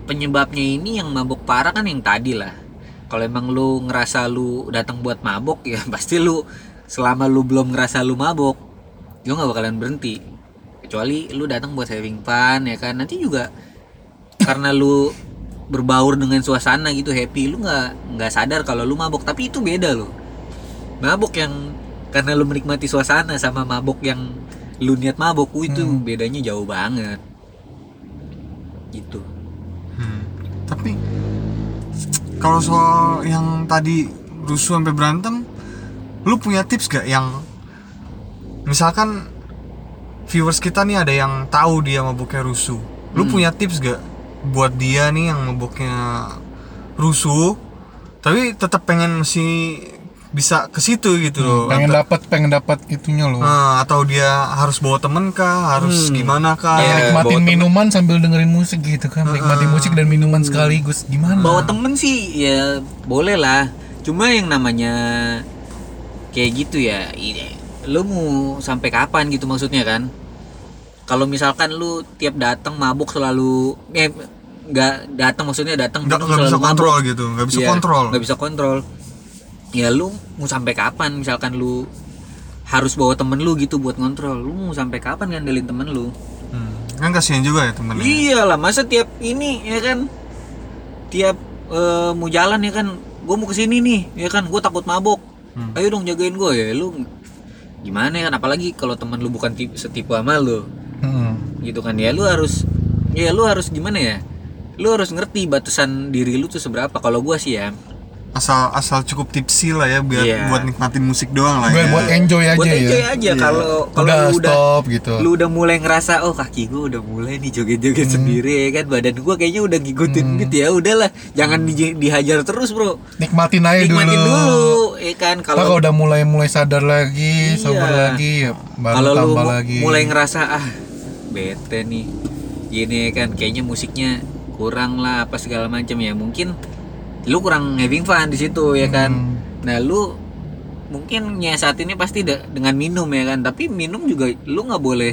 [SPEAKER 3] penyebabnya ini yang mabuk parah kan yang tadi lah kalau emang lu ngerasa lu datang buat mabok ya pasti lu selama lu belum ngerasa lu mabok lu nggak bakalan berhenti kecuali lu datang buat having fun ya kan nanti juga karena lu berbaur dengan suasana gitu happy lu nggak nggak sadar kalau lu mabok tapi itu beda loh mabok yang karena lu menikmati suasana sama mabok yang lu niat mabok wuh, itu
[SPEAKER 2] Hmm.
[SPEAKER 3] bedanya jauh banget gitu
[SPEAKER 1] Hmm. Tapi kalau soal yang tadi rusuh sampai berantem, lu punya tips gak yang misalkan viewers kita nih ada yang tahu dia mabuknya rusuh, lu
[SPEAKER 3] Hmm.
[SPEAKER 1] punya tips gak buat dia nih yang mabuknya rusuh, tapi tetap pengen masih bisa ke situ gitu
[SPEAKER 3] Hmm,
[SPEAKER 1] loh.
[SPEAKER 2] pengen
[SPEAKER 1] Atau-
[SPEAKER 2] dapat pengen dapat itunya loh.
[SPEAKER 1] Ah, atau dia harus bawa temen kah, harus
[SPEAKER 3] Hmm.
[SPEAKER 1] gimana kah?
[SPEAKER 3] Iya. bawa
[SPEAKER 2] Nikmatin
[SPEAKER 3] temen. Ah,
[SPEAKER 2] minuman sambil dengerin musik gitu kan. Nikmatin musik dan minuman sekaligus gimana?
[SPEAKER 3] bawa temen sih ya boleh lah cuma yang namanya kayak gitu ya ini lu mau sampai kapan gitu maksudnya kan kalau misalkan lu tiap datang mabuk selalu eh nggak datang maksudnya datang
[SPEAKER 1] Nggak,
[SPEAKER 3] minum
[SPEAKER 1] nggak bisa
[SPEAKER 3] selalu mabuk.
[SPEAKER 1] kontrol gitu, nggak bisa
[SPEAKER 3] Iya,
[SPEAKER 1] kontrol.
[SPEAKER 3] nggak bisa kontrol ya lu mau sampai kapan misalkan lu harus bawa temen lu gitu buat kontrol lu mau sampai kapan ngandelin temen lu
[SPEAKER 1] Hmm. Kan kasihan juga ya temennya.
[SPEAKER 3] Iya, iyalah masa tiap ini ya kan tiap eh, mau jalan ya kan gue mau kesini nih ya kan gue takut mabok
[SPEAKER 1] Hmm.
[SPEAKER 3] ayo dong jagain gue ya lu gimana ya kan apalagi kalau temen lu bukan tip- setipu sama lu
[SPEAKER 2] Hmm.
[SPEAKER 3] gitu kan ya lu harus ya lu harus gimana ya lu harus ngerti batasan diri lu tuh seberapa kalau gua sih ya
[SPEAKER 1] asal asal cukup tipsi lah ya biar
[SPEAKER 3] Iya.
[SPEAKER 1] buat nikmatin musik doang lah
[SPEAKER 2] Buat,
[SPEAKER 1] ya.
[SPEAKER 2] buat enjoy aja
[SPEAKER 3] Ah, buat enjoy
[SPEAKER 2] ya.
[SPEAKER 3] aja
[SPEAKER 1] Iya.
[SPEAKER 3] kalau kalau
[SPEAKER 2] Udah,
[SPEAKER 3] lu udah
[SPEAKER 2] stop gitu.
[SPEAKER 3] lu udah mulai ngerasa oh kaki gua udah mulai nih joget-joget
[SPEAKER 2] Hmm.
[SPEAKER 3] sendiri ya kan badan gua kayaknya udah ngikutin beat ya udahlah jangan di- dihajar terus bro
[SPEAKER 2] nikmatin aja
[SPEAKER 3] nikmatin
[SPEAKER 2] Hmm. dulu.
[SPEAKER 3] dulu ya kan
[SPEAKER 2] Ntar Kalau
[SPEAKER 3] kalau
[SPEAKER 2] udah mulai mulai sadar lagi,
[SPEAKER 3] Iya.
[SPEAKER 2] sober lagi, ya baru
[SPEAKER 3] kalau lu
[SPEAKER 2] tambah
[SPEAKER 3] mu-
[SPEAKER 2] lagi.
[SPEAKER 3] mulai ngerasa ah bete nih gini ya kan kayaknya musiknya kurang lah apa segala macam ya mungkin lu kurang having fun di situ ya kan
[SPEAKER 2] Hmm.
[SPEAKER 3] nah lu mungkin nyiasatinnya pasti de- dengan minum ya kan tapi minum juga lu nggak boleh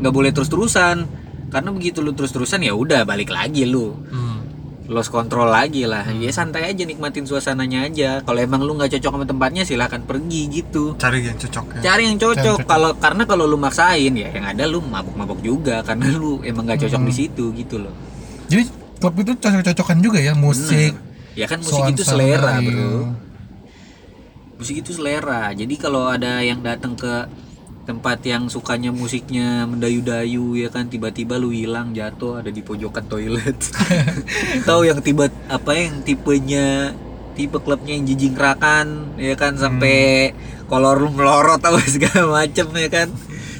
[SPEAKER 3] nggak boleh terus terusan karena begitu lu terus terusan ya udah balik lagi lu
[SPEAKER 1] Hmm.
[SPEAKER 3] lost control lagi lah
[SPEAKER 2] Hmm.
[SPEAKER 3] ya santai aja nikmatin suasananya aja kalau emang lu nggak cocok sama tempatnya silahkan pergi gitu
[SPEAKER 1] Cari yang cocok ya.
[SPEAKER 3] cari
[SPEAKER 2] Kan.
[SPEAKER 3] yang
[SPEAKER 2] Cari yang
[SPEAKER 3] cocok
[SPEAKER 2] cocok.
[SPEAKER 3] kalau karena kalau lu maksain ya yang ada lu mabuk-mabuk juga karena lu emang gak cocok di
[SPEAKER 2] Hmm.
[SPEAKER 3] situ gitu loh
[SPEAKER 2] Jadi klub itu cocok-cocokan juga ya musik.
[SPEAKER 3] Bener. ya kan musik itu
[SPEAKER 2] suasana,
[SPEAKER 3] selera
[SPEAKER 2] iya.
[SPEAKER 3] bro musik itu selera jadi kalau ada yang datang ke tempat yang sukanya musiknya mendayu-dayu ya kan tiba-tiba lu hilang jatuh ada di pojokan toilet tahu yang tiba apa yang tipenya tipe klubnya yang jijingrakan ya kan sampai
[SPEAKER 2] Hmm.
[SPEAKER 3] kolor lu melorot apa segala macem ya kan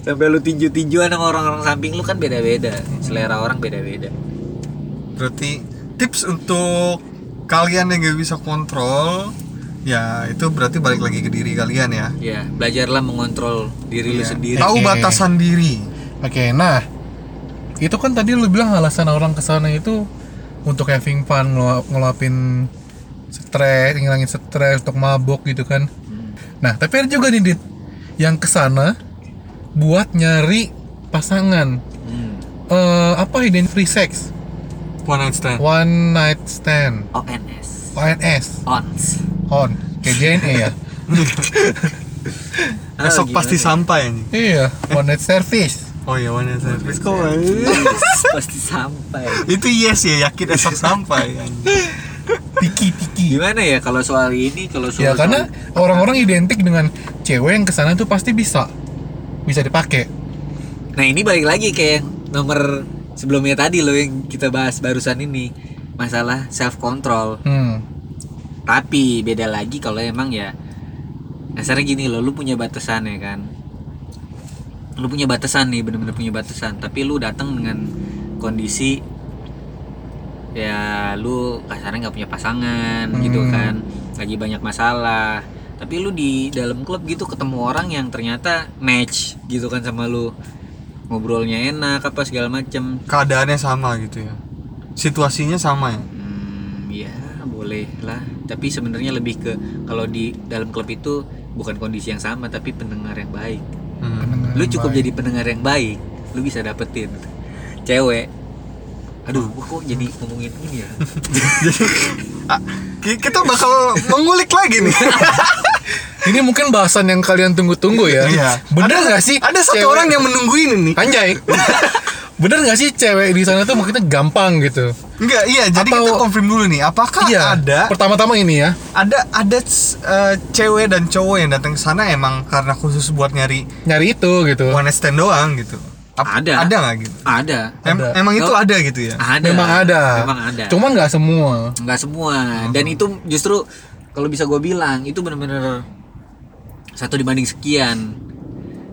[SPEAKER 3] sampai lu tinju-tinjuan sama orang-orang samping lu kan beda-beda selera orang beda-beda
[SPEAKER 1] Berarti tips untuk kalian yang gak bisa kontrol ya itu berarti balik lagi ke diri kalian ya.
[SPEAKER 3] ya belajarlah mengontrol diri
[SPEAKER 2] Iya.
[SPEAKER 3] lu
[SPEAKER 1] Ya.
[SPEAKER 3] sendiri
[SPEAKER 1] Tahu
[SPEAKER 2] Oke.
[SPEAKER 1] batasan diri.
[SPEAKER 2] Oke, nah itu kan tadi lu bilang alasan orang kesana itu untuk having fun, ngelu- ngeluapin stres, ngilangin stres, untuk mabok gitu kan. Nah, tapi ada juga nih Dit yang kesana buat nyari pasangan.
[SPEAKER 3] Hmm.
[SPEAKER 2] Eh, apa ident free sex?
[SPEAKER 1] One night stand.
[SPEAKER 2] One night stand.
[SPEAKER 3] ONS
[SPEAKER 2] ONS.
[SPEAKER 3] ONS
[SPEAKER 2] On. Kayak JNE ya.
[SPEAKER 3] Ah,
[SPEAKER 1] Besok
[SPEAKER 3] gimana
[SPEAKER 1] Oh, pasti
[SPEAKER 3] ya?
[SPEAKER 1] sampai anjing.
[SPEAKER 2] iya, one night service.
[SPEAKER 1] Oh iya one night stand. Kok
[SPEAKER 3] pasti sampai
[SPEAKER 1] itu yes ya yakin esok sampai anjing.
[SPEAKER 2] Tiki tiki.
[SPEAKER 3] gimana ya kalau soal ini kalau
[SPEAKER 2] Ya
[SPEAKER 3] soal
[SPEAKER 2] karena orang-orang identik dengan cewek yang kesana tuh pasti bisa bisa dipakai.
[SPEAKER 3] nah ini balik lagi kayak yang nomor sebelumnya tadi loh yang kita bahas barusan ini masalah self control
[SPEAKER 2] Hmm.
[SPEAKER 3] tapi beda lagi kalau emang ya dasarnya gini loh lu punya batasan ya kan lu punya batasan nih bener-bener punya batasan tapi lu datang dengan kondisi ya lu kasarnya nggak punya pasangan gitu
[SPEAKER 2] Hmm.
[SPEAKER 3] kan lagi banyak masalah tapi lu di dalam klub gitu ketemu orang yang ternyata match gitu kan sama lu ngobrolnya enak apa segala macem
[SPEAKER 1] keadaannya sama gitu ya situasinya sama ya
[SPEAKER 3] Hmm, ya boleh lah. Tapi sebenarnya lebih ke kalau di dalam klub itu bukan kondisi yang sama tapi pendengar yang baik.
[SPEAKER 1] Hmm.
[SPEAKER 3] Lu cukup jadi pendengar yang baik, lu bisa dapetin cewek. Aduh, gua kok jadi ngomongin ini ya?
[SPEAKER 1] Ah, ki- kita bakal mengulik lagi nih
[SPEAKER 2] Ini mungkin bahasan yang kalian tunggu-tunggu
[SPEAKER 1] Iya.
[SPEAKER 2] ya.
[SPEAKER 3] Iya.
[SPEAKER 2] Bener
[SPEAKER 1] Ada-
[SPEAKER 2] nggak sih?
[SPEAKER 1] ada satu
[SPEAKER 2] cewek-
[SPEAKER 1] orang yang menunggu ini nih
[SPEAKER 2] Anjay. Bener nggak sih cewek di sana tuh maksudnya gampang gitu?
[SPEAKER 1] enggak iya jadi
[SPEAKER 2] Atau- Iya.
[SPEAKER 1] kita confirm dulu nih apakah ada
[SPEAKER 2] Pertama-tama ini ya.
[SPEAKER 1] ada ada eh, cewek dan cowok yang datang ke sana emang karena khusus buat nyari
[SPEAKER 2] Nyari itu gitu.
[SPEAKER 1] one night stand doang gitu Ap-
[SPEAKER 3] Ada.
[SPEAKER 1] ada nggak gitu
[SPEAKER 3] Ada. Ah,
[SPEAKER 1] Em-
[SPEAKER 2] Ada.
[SPEAKER 1] emang itu
[SPEAKER 3] Kau-
[SPEAKER 1] ada gitu ya
[SPEAKER 3] Ada.
[SPEAKER 2] Memang ada. Hmm.
[SPEAKER 3] Memang ada.
[SPEAKER 2] Cuman nggak semua.
[SPEAKER 3] nggak semua. Dan itu justru kalau bisa gue bilang itu bener-bener satu dibanding sekian.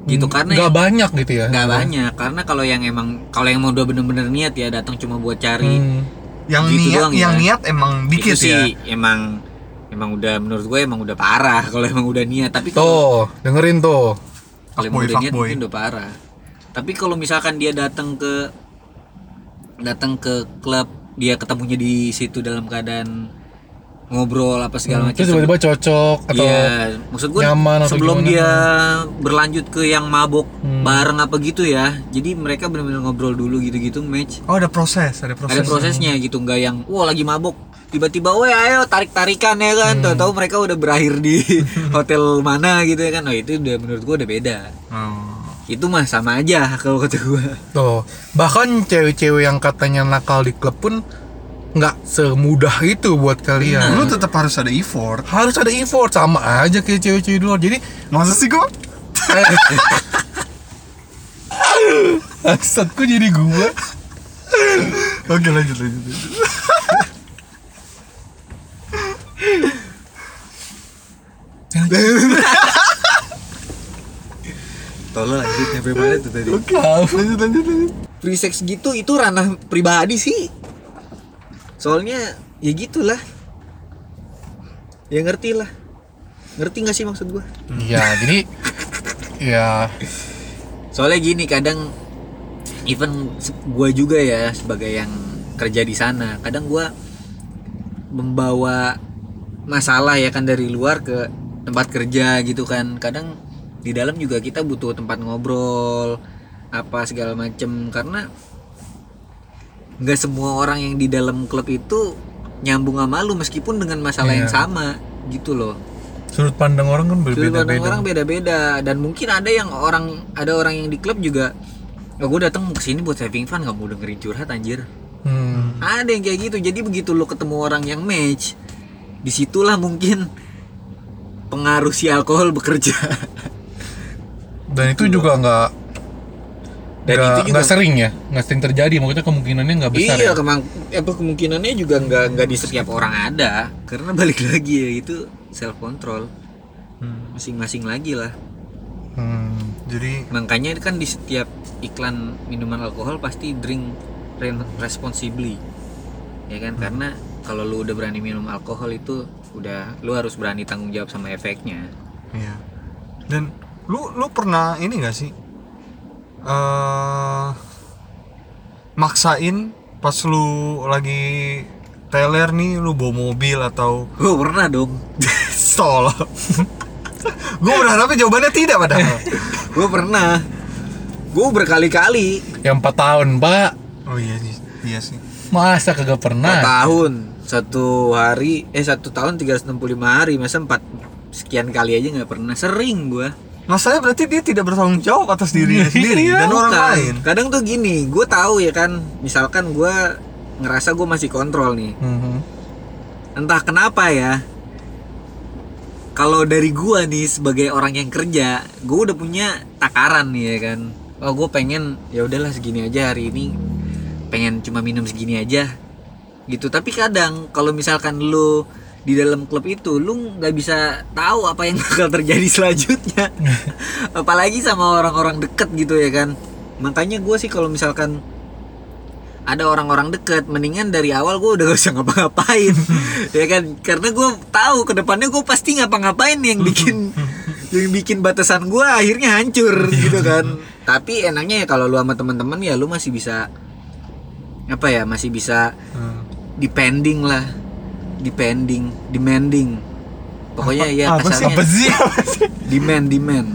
[SPEAKER 3] Gitu
[SPEAKER 2] Hmm.
[SPEAKER 3] karena
[SPEAKER 2] nggak banyak gitu ya.
[SPEAKER 3] nggak banyak karena kalau yang emang kalau yang mau udah bener-bener niat ya datang cuma buat cari
[SPEAKER 2] Hmm.
[SPEAKER 1] yang
[SPEAKER 3] Gitu
[SPEAKER 1] niat
[SPEAKER 3] doang
[SPEAKER 1] yang
[SPEAKER 3] ya.
[SPEAKER 1] niat emang dikit
[SPEAKER 3] itu sih
[SPEAKER 1] ya
[SPEAKER 3] emang emang udah menurut gue emang udah parah kalau emang udah niat tapi kalau
[SPEAKER 2] Tuh, dengerin tuh.
[SPEAKER 3] kalau
[SPEAKER 1] Fuckboy,
[SPEAKER 3] emang udah niat
[SPEAKER 1] fuckboy.
[SPEAKER 3] mungkin udah parah tapi kalau misalkan dia datang ke datang ke klub dia ketemunya di situ dalam keadaan ngobrol apa segala
[SPEAKER 2] Hmm, Terus
[SPEAKER 3] macam
[SPEAKER 2] tiba-tiba cocok atau
[SPEAKER 3] Iya, maksud gue
[SPEAKER 2] nyaman atau
[SPEAKER 3] sebelum
[SPEAKER 2] gimana?
[SPEAKER 3] dia berlanjut ke yang mabok
[SPEAKER 2] Hmm.
[SPEAKER 3] bareng apa gitu ya. Jadi mereka benar-benar ngobrol dulu gitu-gitu match.
[SPEAKER 1] oh ada proses ada proses
[SPEAKER 3] Ada prosesnya gitu, nggak yang wah lagi mabok tiba-tiba weh ayo tarik-tarikan ya kan. Tahu-tahu mereka udah berakhir di hotel mana gitu ya kan. Oh, itu udah menurut gua udah beda.
[SPEAKER 1] Oh.
[SPEAKER 3] Itu mah sama aja kalau kata gua.
[SPEAKER 2] Tuh, bahkan cewek-cewek yang katanya nakal di klub pun nggak semudah itu buat kalian.
[SPEAKER 1] lu tetap harus ada effort
[SPEAKER 2] Harus ada effort sama aja kayak cewek-cewek di luar. Jadi
[SPEAKER 1] masa sih gua
[SPEAKER 2] Maksudku jadi gua
[SPEAKER 1] oke lanjut lanjut lanjut.
[SPEAKER 3] Tolong lanjut nyampe mana tuh tadi.
[SPEAKER 1] lanjut lanjut lanjut
[SPEAKER 3] Free sex gitu itu ranah pribadi sih. Soalnya ya gitulah. Ya ngerti lah. Ngerti nggak sih maksud gua?
[SPEAKER 2] Ya jadi Ya
[SPEAKER 3] soalnya gini kadang even se- gua juga ya sebagai yang kerja di sana kadang gua membawa masalah ya kan dari luar ke tempat kerja gitu kan kadang di dalam juga kita butuh tempat ngobrol apa segala macem karena nggak semua orang yang di dalam klub itu nyambung sama lu meskipun dengan masalah yang
[SPEAKER 2] Iya.
[SPEAKER 3] sama gitu loh
[SPEAKER 2] sudut pandang orang kan
[SPEAKER 3] sudut pandang
[SPEAKER 2] berbeda-beda
[SPEAKER 3] orang beda-beda dan mungkin ada yang orang ada orang yang di klub juga oh, gue datang ke sini buat saving fun nggak mau dengerin curhat anjir
[SPEAKER 2] hmm.
[SPEAKER 3] ada yang kayak gitu jadi begitu lo ketemu orang yang match disitulah mungkin pengaruh si alkohol bekerja
[SPEAKER 2] Dan itu juga nggak nggak-
[SPEAKER 3] Dan itu juga-
[SPEAKER 2] nggak sering ya nggak sering terjadi maksudnya kemungkinannya nggak besar ya
[SPEAKER 3] iya kemang- apa kemungkinannya juga nggak nggak di setiap orang ada karena balik lagi ya itu self control masing-masing lagi lah
[SPEAKER 2] hmm.
[SPEAKER 1] jadi
[SPEAKER 3] makanya kan di setiap iklan minuman alkohol pasti drink re- responsibly ya kan
[SPEAKER 1] Hmm.
[SPEAKER 3] karena kalau lu udah berani minum alkohol itu udah lu harus berani tanggung jawab sama efeknya
[SPEAKER 1] Iya. Dan lu lu pernah ini gak sih? eh maksain pas lu lagi teler nih lu bawa mobil atau
[SPEAKER 3] gue pernah dong
[SPEAKER 1] stol. gue berharapnya jawabannya tidak padahal.
[SPEAKER 3] gue pernah gue berkali-kali
[SPEAKER 2] yang 4 Ya, tahun pak
[SPEAKER 1] Oh iya sih, iya sih.
[SPEAKER 2] masa kagak
[SPEAKER 1] Nah.
[SPEAKER 3] Empat
[SPEAKER 2] pernah
[SPEAKER 3] tahun satu hari eh satu tahun 365 hari masa empat sekian kali aja nggak pernah sering gua
[SPEAKER 1] Masalahnya berarti dia tidak bertanggung jawab atas dirinya sendiri
[SPEAKER 2] Iya,
[SPEAKER 1] dan Ya, orang
[SPEAKER 3] Bukan.
[SPEAKER 1] lain.
[SPEAKER 3] kadang tuh gini gue tahu ya kan misalkan gua ngerasa gue masih kontrol nih
[SPEAKER 2] Mhm.
[SPEAKER 3] entah kenapa ya kalau dari gua nih sebagai orang yang kerja gua udah punya takaran nih ya kan oh gue pengen ya udahlah segini aja hari ini pengen cuma minum segini aja gitu tapi kadang kalau misalkan lu di dalam klub itu lu nggak bisa tahu apa yang bakal terjadi selanjutnya apalagi sama orang-orang deket gitu ya kan makanya gue sih kalau misalkan ada orang-orang deket mendingan dari awal gue udah gak usah ngapa-ngapain ya kan karena gue tahu kedepannya gue pasti ngapa-ngapain yang bikin yang bikin batasan gua akhirnya hancur
[SPEAKER 1] Iya.
[SPEAKER 3] gitu kan tapi enaknya ya kalau lu sama teman-teman ya lu masih bisa apa ya masih bisa
[SPEAKER 1] Hmm.
[SPEAKER 3] depending lah depending demanding pokoknya ya
[SPEAKER 1] apa sih?
[SPEAKER 3] kasarnya
[SPEAKER 2] apa sih
[SPEAKER 3] demand demand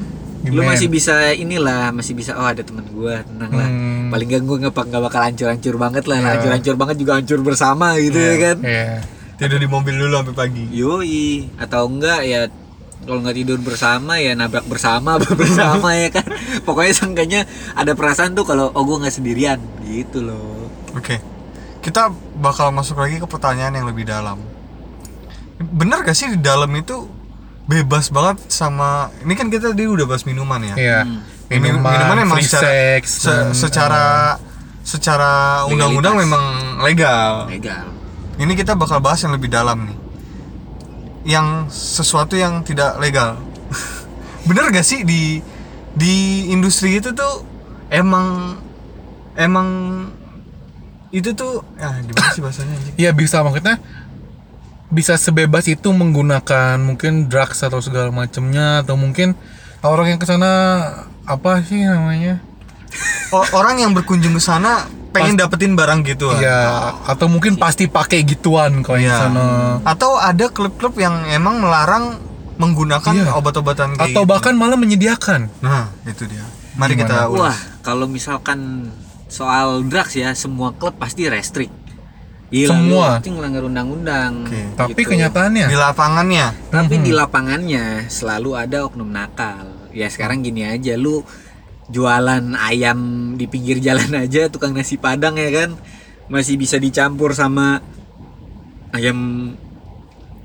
[SPEAKER 3] lu
[SPEAKER 2] Demand.
[SPEAKER 3] masih bisa inilah masih bisa oh ada teman gua tenang lah
[SPEAKER 2] Hmm.
[SPEAKER 3] paling gak gua nggak nggak bakal hancur hancur banget lah
[SPEAKER 2] Iya.
[SPEAKER 3] hancur hancur banget juga hancur bersama gitu ya kan
[SPEAKER 2] ya
[SPEAKER 1] tidur di mobil dulu sampai pagi
[SPEAKER 3] Yoi, atau enggak ya kalau nggak tidur bersama ya nabrak bersama bersama ya kan. Pokoknya sangkanya ada perasaan tuh kalau oh gue nggak sendirian gitu loh.
[SPEAKER 1] Oke, kita bakal masuk lagi ke pertanyaan yang lebih dalam. Bener gak sih di dalam itu bebas banget sama ini kan kita tadi udah bahas minuman ya.
[SPEAKER 2] ya
[SPEAKER 3] Hmm.
[SPEAKER 1] Minum-
[SPEAKER 2] minuman,
[SPEAKER 1] memang
[SPEAKER 2] free
[SPEAKER 1] secara
[SPEAKER 2] sex hmm.
[SPEAKER 1] se-
[SPEAKER 2] dan, eh,
[SPEAKER 1] secara secara undang-undang memang legal.
[SPEAKER 3] Legal.
[SPEAKER 1] Ini kita bakal bahas yang lebih dalam nih. Yang sesuatu yang tidak legal. Bener gak sih di di industri itu tuh emang emang itu tuh ah gimana sih bahasanya anjing?
[SPEAKER 2] Iya bisa maksudnya bisa sebebas itu menggunakan mungkin drugs atau segala macemnya atau mungkin orang yang kesana apa sih namanya?
[SPEAKER 1] O- orang yang berkunjung ke sana pengen dapetin barang gitu ah.
[SPEAKER 2] Iya atau mungkin pasti pakai gituan kalau yang
[SPEAKER 1] Iya.
[SPEAKER 2] kesana.
[SPEAKER 1] Atau ada klub-klub yang emang melarang menggunakan
[SPEAKER 2] Iya.
[SPEAKER 1] obat-obatan kayak
[SPEAKER 2] Atau
[SPEAKER 1] gitu.
[SPEAKER 2] bahkan malah menyediakan.
[SPEAKER 1] nah itu dia. Mari
[SPEAKER 2] Gimana?
[SPEAKER 1] kita ulas.
[SPEAKER 3] Wah, kalau misalkan soal drugs ya semua klub pasti restrik. Gila,
[SPEAKER 2] Semua?
[SPEAKER 3] Lu, itu ngelanggar undang-undang.
[SPEAKER 1] Oke.
[SPEAKER 3] gitu.
[SPEAKER 2] Tapi kenyataannya
[SPEAKER 1] Di lapangannya
[SPEAKER 3] Tapi
[SPEAKER 2] Mhm.
[SPEAKER 3] di lapangannya selalu ada oknum nakal. Ya sekarang gini aja lu jualan ayam di pinggir jalan aja tukang nasi padang ya kan masih bisa dicampur sama ayam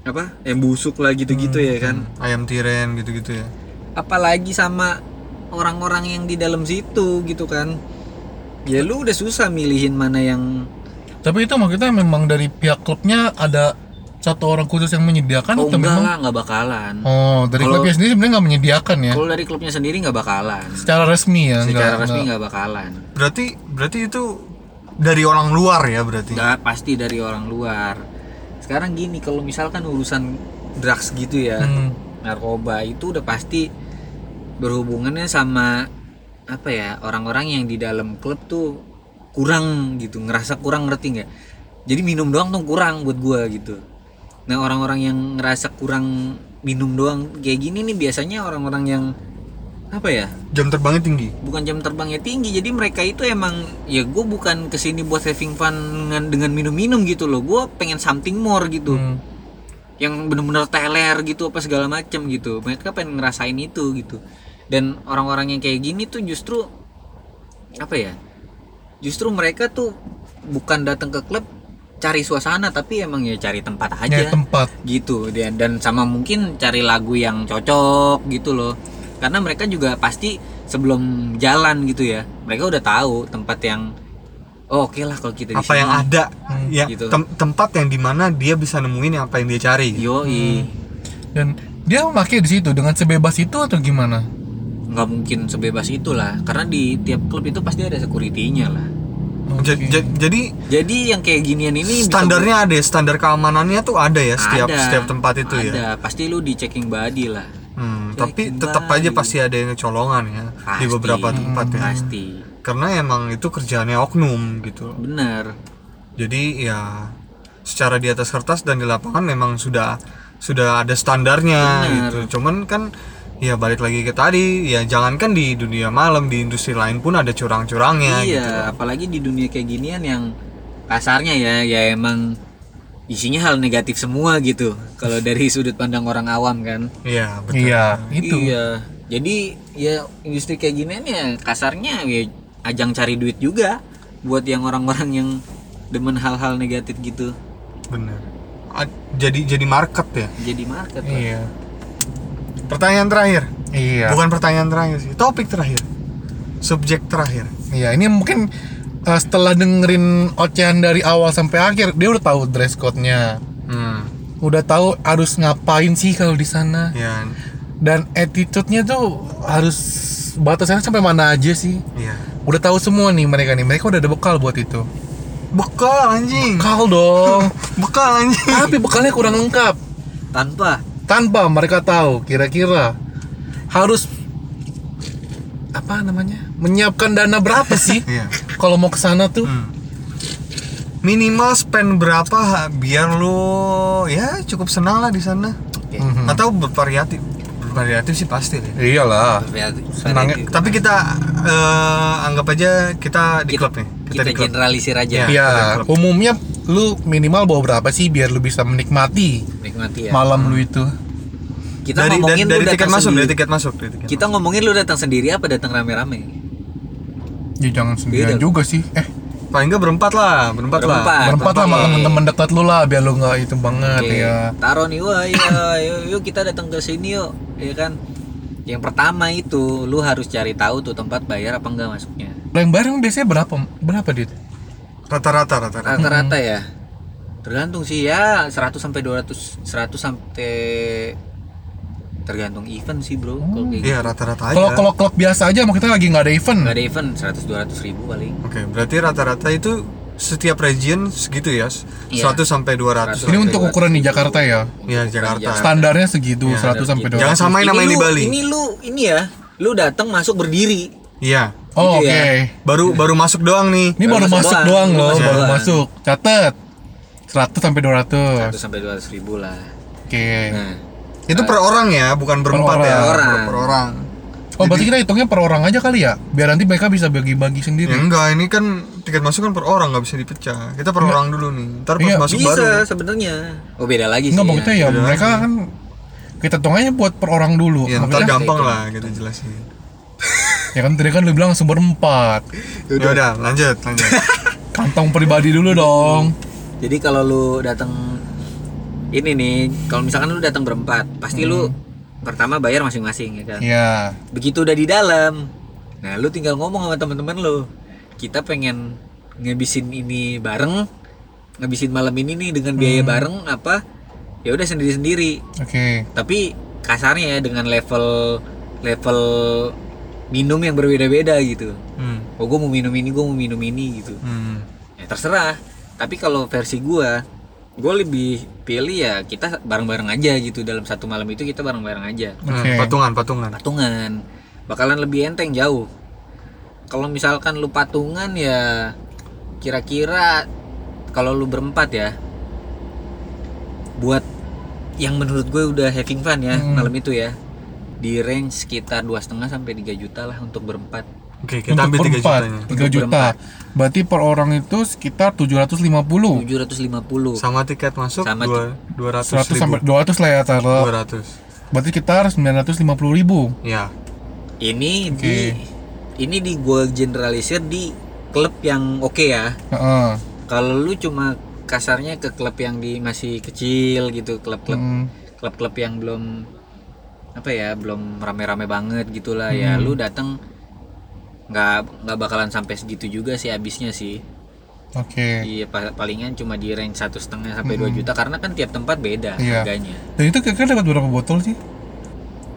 [SPEAKER 3] apa ayam busuk lah gitu-gitu ya kan
[SPEAKER 2] Mhm.
[SPEAKER 1] Hmm. ayam tiren gitu-gitu ya.
[SPEAKER 3] apalagi sama orang-orang yang di dalam situ gitu kan ya lu udah susah milihin mana yang
[SPEAKER 2] tapi itu maksudnya memang dari pihak klubnya ada satu orang khusus yang menyediakan
[SPEAKER 3] oh
[SPEAKER 2] atau
[SPEAKER 3] enggak
[SPEAKER 2] Kan memang
[SPEAKER 3] lah nggak bakalan
[SPEAKER 2] Oh, dari
[SPEAKER 3] Kalau-
[SPEAKER 2] klubnya sendiri sebenarnya nggak menyediakan ya.
[SPEAKER 3] kalau dari klubnya sendiri nggak bakalan
[SPEAKER 2] Secara resmi ya,
[SPEAKER 3] secara
[SPEAKER 2] nggak-
[SPEAKER 3] resmi
[SPEAKER 2] nggak.
[SPEAKER 3] nggak bakalan
[SPEAKER 1] Berarti berarti itu dari orang luar ya berarti.
[SPEAKER 3] Nggak, pasti dari orang luar. Sekarang gini, kalau misalkan urusan drugs gitu ya,
[SPEAKER 2] Hmm.
[SPEAKER 3] narkoba itu udah pasti berhubungannya sama apa ya orang-orang yang di dalam klub tuh kurang gitu, ngerasa kurang ngerti nggak? Jadi minum doang tuh kurang buat gua gitu. Nah orang-orang yang ngerasa kurang minum doang kayak gini nih biasanya orang-orang yang apa ya
[SPEAKER 1] Jam terbangnya tinggi.
[SPEAKER 3] bukan jam terbangnya tinggi jadi mereka itu emang ya gue bukan kesini buat having fun dengan, dengan minum-minum gitu loh gue pengen something more gitu
[SPEAKER 2] Hmm.
[SPEAKER 3] yang bener-bener teler gitu apa segala macem gitu mereka pengen ngerasain itu gitu dan orang-orang yang kayak gini tuh justru apa ya justru mereka tuh bukan datang ke klub cari suasana tapi emang ya cari tempat aja
[SPEAKER 2] Nyari tempat.
[SPEAKER 3] gitu dan dan sama mungkin cari lagu yang cocok gitu loh karena mereka juga pasti sebelum jalan gitu ya mereka udah tahu tempat yang oh, oke lah kalau kita di
[SPEAKER 1] apa
[SPEAKER 3] sini."
[SPEAKER 1] yang ada ya
[SPEAKER 3] gitu.
[SPEAKER 1] tem- tempat yang dimana dia bisa nemuin apa yang dia cari
[SPEAKER 3] yoi
[SPEAKER 1] Hmm.
[SPEAKER 2] Dan dia memakai di situ dengan sebebas itu atau gimana?
[SPEAKER 3] nggak mungkin sebebas itulah karena di tiap klub itu pasti ada security-nya lah
[SPEAKER 1] Ja-
[SPEAKER 2] gitu.
[SPEAKER 1] ja- jadi
[SPEAKER 3] jadi yang kayak ginian ini bisa
[SPEAKER 1] standarnya ada ya, standar keamanannya tuh ada ya setiap
[SPEAKER 3] Ada,
[SPEAKER 1] setiap tempat itu ya
[SPEAKER 3] ada pasti lu di checking body lah
[SPEAKER 1] Hmm,
[SPEAKER 3] Checking
[SPEAKER 1] tapi tetap aja
[SPEAKER 3] body.
[SPEAKER 1] pasti ada yang kecolongan ya di
[SPEAKER 3] Pasti. Hmm,
[SPEAKER 1] beberapa tempat ya
[SPEAKER 3] pasti
[SPEAKER 1] karena emang itu kerjaannya oknum gitu
[SPEAKER 3] bener
[SPEAKER 1] jadi ya secara di atas kertas dan di lapangan memang sudah sudah ada standarnya
[SPEAKER 3] Benar.
[SPEAKER 1] gitu cuman kan ya balik lagi ke tadi ya jangankan di dunia malam di industri lain pun ada curang-curangnya
[SPEAKER 3] iya,
[SPEAKER 1] gitu
[SPEAKER 3] apalagi di dunia kayak ginian yang kasarnya ya, ya emang isinya hal negatif semua gitu. Kalau dari sudut pandang orang awam kan.
[SPEAKER 1] iya betul
[SPEAKER 2] Iya, itu.
[SPEAKER 3] Iya. Jadi ya industri kayak ginian ya kasarnya ya ajang cari duit juga buat yang orang-orang yang demen hal-hal negatif gitu.
[SPEAKER 1] benar jadi jadi market ya
[SPEAKER 3] Jadi market. lah.
[SPEAKER 2] Iya.
[SPEAKER 1] pertanyaan terakhir
[SPEAKER 2] Iya.
[SPEAKER 1] bukan pertanyaan terakhir sih topik terakhir subjek terakhir
[SPEAKER 2] Iya, ini mungkin uh, setelah dengerin ocehan dari awal sampai akhir, dia udah tahu dress code-nya. Udah tahu harus ngapain sih kalau di
[SPEAKER 1] Hmm,
[SPEAKER 2] sana.
[SPEAKER 1] ya
[SPEAKER 2] Dan attitude-nya tuh harus batasannya sampai mana aja sih.
[SPEAKER 1] ya
[SPEAKER 2] Udah tahu semua nih mereka nih. Mereka udah ada bekal buat itu.
[SPEAKER 1] Hmm. bekal anjing
[SPEAKER 2] Bekal dong.
[SPEAKER 1] bekal anjing
[SPEAKER 2] Tapi bekalnya kurang lengkap.
[SPEAKER 3] Tanpa
[SPEAKER 2] Tanpa mereka tahu kira-kira harus apa namanya menyiapkan dana berapa sih
[SPEAKER 1] Iya.
[SPEAKER 2] kalau mau ke sana tuh
[SPEAKER 1] Hmm. Minimal spend berapa ha, biar lu ya cukup senang lah di sana.
[SPEAKER 2] Mhm.
[SPEAKER 1] Atau bervariatif. Bervariatif sih pasti. deh.
[SPEAKER 2] iyalah
[SPEAKER 3] Ya,
[SPEAKER 2] Senangnya-
[SPEAKER 1] Tapi ya. kita eh, anggap aja kita di
[SPEAKER 3] kita,
[SPEAKER 1] klub nih.
[SPEAKER 3] kita,
[SPEAKER 1] di klub.
[SPEAKER 3] generalisir
[SPEAKER 1] Iya.
[SPEAKER 3] aja
[SPEAKER 2] ya umumnya lu minimal bawa berapa sih biar lu bisa menikmati
[SPEAKER 3] nikmati ya
[SPEAKER 2] malam lu itu
[SPEAKER 3] kita
[SPEAKER 1] Dari dari,
[SPEAKER 3] ngomongin
[SPEAKER 1] dari
[SPEAKER 3] lu datang
[SPEAKER 1] tiket masuk,
[SPEAKER 3] sendiri
[SPEAKER 1] dari tiket masuk, dari tiket.
[SPEAKER 3] kita ngomongin lu datang sendiri apa datang rame-rame
[SPEAKER 2] ya jangan sendirian
[SPEAKER 3] Beda.
[SPEAKER 2] juga sih eh
[SPEAKER 1] masuk. Paling enggak berempat lah, berempat, lah.
[SPEAKER 3] Berempat. Ah, Iya.
[SPEAKER 2] berempat lah sama
[SPEAKER 3] tapi-
[SPEAKER 2] teman-teman dekat lu lah biar lu nggak itu banget
[SPEAKER 3] Oke.
[SPEAKER 2] ya
[SPEAKER 3] Taruh nih, wah ya, yuk, yuk kita datang ke sini yuk, ya kan. Yang pertama itu, lu harus cari tahu tuh tempat bayar apa enggak masuknya.
[SPEAKER 2] yang bareng biasanya berapa berapa dit
[SPEAKER 1] Rata-rata rata-rata.
[SPEAKER 3] Rata-rata ya. Tergantung sih ya, 100 sampai 200, 100 sampai tergantung event sih, Bro.
[SPEAKER 2] Mm.
[SPEAKER 3] Kalau kayak gitu.
[SPEAKER 1] Iya, rata-rata aja.
[SPEAKER 2] kalau kalau klub biasa aja sama kita lagi nggak ada event
[SPEAKER 3] Nggak ada event 100 200 ribu paling.
[SPEAKER 1] Oke, berarti rata-rata itu setiap region segitu ya, s-
[SPEAKER 3] Iya.
[SPEAKER 1] 100 sampai 200.
[SPEAKER 2] ini untuk ukuran di Jakarta ya
[SPEAKER 1] Iya, Jakarta.
[SPEAKER 2] standarnya segitu
[SPEAKER 1] Iya,
[SPEAKER 2] 100 sampai
[SPEAKER 3] gitu.
[SPEAKER 2] 200
[SPEAKER 1] Jangan samain sama yang
[SPEAKER 3] lu,
[SPEAKER 1] di Bali.
[SPEAKER 3] Ini lu ini ya, lu datang masuk berdiri.
[SPEAKER 1] Iya.
[SPEAKER 2] oh, oke
[SPEAKER 3] gitu ya.
[SPEAKER 1] Baru baru masuk doang nih.
[SPEAKER 2] ini baru, masuk doang, loh
[SPEAKER 3] Masuk
[SPEAKER 2] baru
[SPEAKER 3] doang.
[SPEAKER 2] masuk catat 100 sampai
[SPEAKER 3] 100
[SPEAKER 2] 200 oke
[SPEAKER 3] sampai 200 ribu lah. Nah,
[SPEAKER 1] Itu per orang ya, bukan berempat
[SPEAKER 2] Per
[SPEAKER 1] ya.
[SPEAKER 3] orang.
[SPEAKER 1] Per, per orang.
[SPEAKER 2] oh berarti kita hitungnya per orang aja kali ya biar nanti mereka bisa bagi-bagi
[SPEAKER 1] Ya
[SPEAKER 2] sendiri
[SPEAKER 1] enggak, ini kan tiket masuk kan per orang nggak bisa dipecah. Kita per orang dulu nih. Ntar pas
[SPEAKER 2] Iya,
[SPEAKER 1] masuk baru.
[SPEAKER 3] bisa sebenarnya. Oh, beda lagi sih.
[SPEAKER 2] nggak
[SPEAKER 3] ya.
[SPEAKER 2] maksudnya ya
[SPEAKER 1] Iya.
[SPEAKER 2] mereka kan kita hitung aja buat per orang dulu
[SPEAKER 1] Ya, ntar
[SPEAKER 2] Maksudnya-
[SPEAKER 1] gampang lah kita jelasin.
[SPEAKER 2] ya kan tadi kan lu bilang sumber empat
[SPEAKER 1] Ya udah, lanjut, lanjut.
[SPEAKER 2] kantong pribadi dulu dong
[SPEAKER 3] Jadi kalau lu datang ini nih, kalau misalkan lu datang berempat, pasti lu
[SPEAKER 2] Hmm.
[SPEAKER 3] pertama bayar masing-masing ya kan.
[SPEAKER 2] ya
[SPEAKER 3] Begitu udah di dalam, nah lu tinggal ngomong sama teman-teman lu. Kita pengen ngabisin ini bareng, ngabisin malam ini nih dengan
[SPEAKER 2] Hmm.
[SPEAKER 3] biaya bareng apa? Ya udah sendiri-sendiri.
[SPEAKER 2] oke
[SPEAKER 3] Tapi kasarnya ya dengan level level minum yang berbeda-beda gitu.
[SPEAKER 1] Hmm.
[SPEAKER 3] Oh gue mau minum ini, gue mau minum ini gitu.
[SPEAKER 1] Hmm.
[SPEAKER 3] ya terserah tapi kalau versi gua gue lebih pilih ya kita bareng-bareng aja gitu dalam satu malam itu kita bareng-bareng aja
[SPEAKER 1] Nah,
[SPEAKER 2] Oke.
[SPEAKER 1] patungan, patungan.
[SPEAKER 3] patungan bakalan lebih enteng jauh kalau misalkan lu patungan ya kira-kira kalau lu berempat ya buat yang menurut gue udah having fun ya
[SPEAKER 2] Hmm.
[SPEAKER 3] malam itu ya di range sekitar dua setengah sampai 3 juta lah untuk berempat
[SPEAKER 1] Oke, kita ambil 3
[SPEAKER 2] berempat,
[SPEAKER 1] jutanya.
[SPEAKER 2] 3
[SPEAKER 3] Untuk
[SPEAKER 2] juta.
[SPEAKER 3] berempat.
[SPEAKER 2] Berarti per orang itu sekitar 750.
[SPEAKER 3] 750
[SPEAKER 1] Sama tiket masuk
[SPEAKER 3] Sama
[SPEAKER 1] dua 200
[SPEAKER 2] 100
[SPEAKER 1] ribu.
[SPEAKER 2] sampai 200 lah ya taruh.
[SPEAKER 1] 200.
[SPEAKER 2] Berarti sekitar 950 ribu.
[SPEAKER 1] Ya.
[SPEAKER 3] ini
[SPEAKER 2] Oke.
[SPEAKER 3] di ini di gua generalisir di klub yang oke ya
[SPEAKER 2] Heeh.
[SPEAKER 3] kalau lu cuma kasarnya ke klub yang di masih kecil gitu klub-klub
[SPEAKER 2] Mm.
[SPEAKER 3] klub-klub yang belum apa ya belum rame-rame banget gitulah
[SPEAKER 2] Hmm.
[SPEAKER 3] ya lu datang nggak nggak bakalan sampai segitu juga sih habisnya sih
[SPEAKER 2] Oke. Hmm.
[SPEAKER 3] Iya pa- palingan cuma di range satu setengah sampai 2 juta karena kan tiap tempat beda
[SPEAKER 2] Iya.
[SPEAKER 3] harganya
[SPEAKER 2] Dan itu kira-kira dapat berapa botol sih?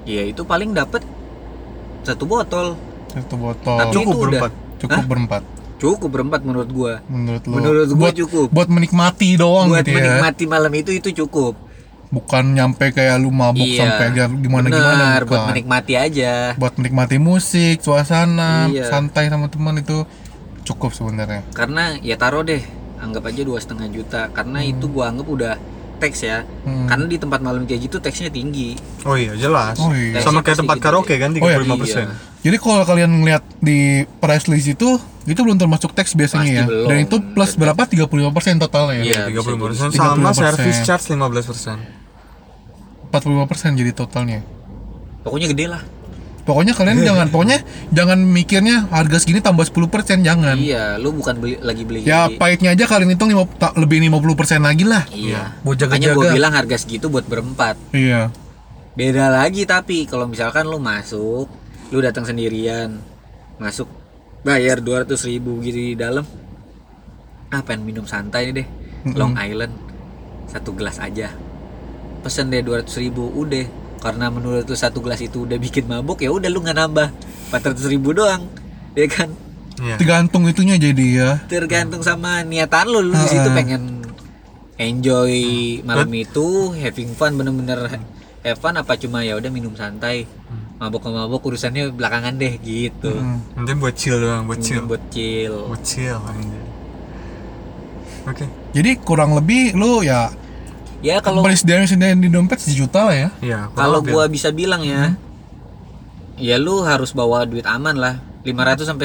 [SPEAKER 3] ya itu paling dapat satu botol
[SPEAKER 2] Satu botol.
[SPEAKER 3] Tapi-
[SPEAKER 1] Cukup
[SPEAKER 3] udah.
[SPEAKER 1] berempat.
[SPEAKER 2] cukup berempat
[SPEAKER 3] cukup berempat menurut gua
[SPEAKER 2] menurut lo.
[SPEAKER 3] Menurut gua
[SPEAKER 2] buat,
[SPEAKER 3] cukup.
[SPEAKER 2] Buat menikmati doang
[SPEAKER 3] buat
[SPEAKER 2] gitu ya.
[SPEAKER 3] menikmati malam itu itu cukup
[SPEAKER 2] Bukan nyampe kayak lu mabuk
[SPEAKER 3] Iya.
[SPEAKER 2] sampai dia gimana-gimana
[SPEAKER 3] Benar, buat
[SPEAKER 2] bukan.
[SPEAKER 3] menikmati aja
[SPEAKER 2] Buat menikmati musik, suasana,
[SPEAKER 3] Iya.
[SPEAKER 2] santai sama teman itu cukup sebenarnya.
[SPEAKER 3] karena ya taruh deh anggap aja dua setengah juta karena itu gua anggap udah teks ya
[SPEAKER 2] Hmm.
[SPEAKER 3] karena di tempat malam kayak gitu teksnya tinggi
[SPEAKER 1] Oh iya, jelas.
[SPEAKER 2] Oh iya.
[SPEAKER 1] Sama kayak tempat
[SPEAKER 3] Pasti gitu
[SPEAKER 1] karaoke kan 35%.
[SPEAKER 2] Oh iya.
[SPEAKER 3] Iya.
[SPEAKER 2] Jadi kalau kalian ngeliat di price list itu, itu belum termasuk tax biasanya
[SPEAKER 3] Pasti
[SPEAKER 2] ya.
[SPEAKER 3] belum.
[SPEAKER 2] Dan itu plus berapa? 35% totalnya ya.
[SPEAKER 3] Iya.
[SPEAKER 1] tiga puluh
[SPEAKER 3] bisa
[SPEAKER 1] persen sama
[SPEAKER 2] 30%.
[SPEAKER 1] service charge 15% persen
[SPEAKER 2] 45% jadi totalnya.
[SPEAKER 3] pokoknya gede lah
[SPEAKER 2] Pokoknya kalian jangan pokoknya jangan mikirnya harga segini tambah 10% jangan.
[SPEAKER 3] iya lu bukan beli lagi beli
[SPEAKER 2] Ya pahitnya aja kalian hitung 50, ta- lebih 50% lagi lah.
[SPEAKER 3] iya
[SPEAKER 2] Buat
[SPEAKER 3] makanya gua
[SPEAKER 2] jaga-jaga.
[SPEAKER 3] bilang harga segitu buat berempat
[SPEAKER 2] Iya.
[SPEAKER 3] beda lagi tapi kalau misalkan lu masuk lu datang sendirian masuk bayar 200.000 ribu gitu di dalam ah pengen minum santai deh Long Island satu gelas aja pesen deh 200.000 ribu udah karena menurut lu satu gelas itu udah bikin mabuk ya udah lu nggak nambah 400.000 ribu doang ya kan
[SPEAKER 1] Iya.
[SPEAKER 2] Tergantung itunya jadi ya.
[SPEAKER 3] tergantung sama niatan lu lu di situ pengen enjoy malam itu having fun bener-bener have fun apa cuma ya udah minum santai
[SPEAKER 1] Hmm.
[SPEAKER 3] mabok-mabok urusannya belakangan deh gitu.
[SPEAKER 2] Hmm.
[SPEAKER 1] Mungkin buat chill doang, buat chill.
[SPEAKER 3] Mungkin buat chill.
[SPEAKER 1] Buat chill anjir. Oke.
[SPEAKER 2] Jadi kurang lebih lu ya
[SPEAKER 3] Ya kalau
[SPEAKER 2] kalau sediain sediain di dompet sejuta lah ya.
[SPEAKER 1] Iya, kurang
[SPEAKER 3] kalau
[SPEAKER 1] lebih.
[SPEAKER 3] gua bisa bilang ya, ya lu harus bawa duit aman lah. 500 sampai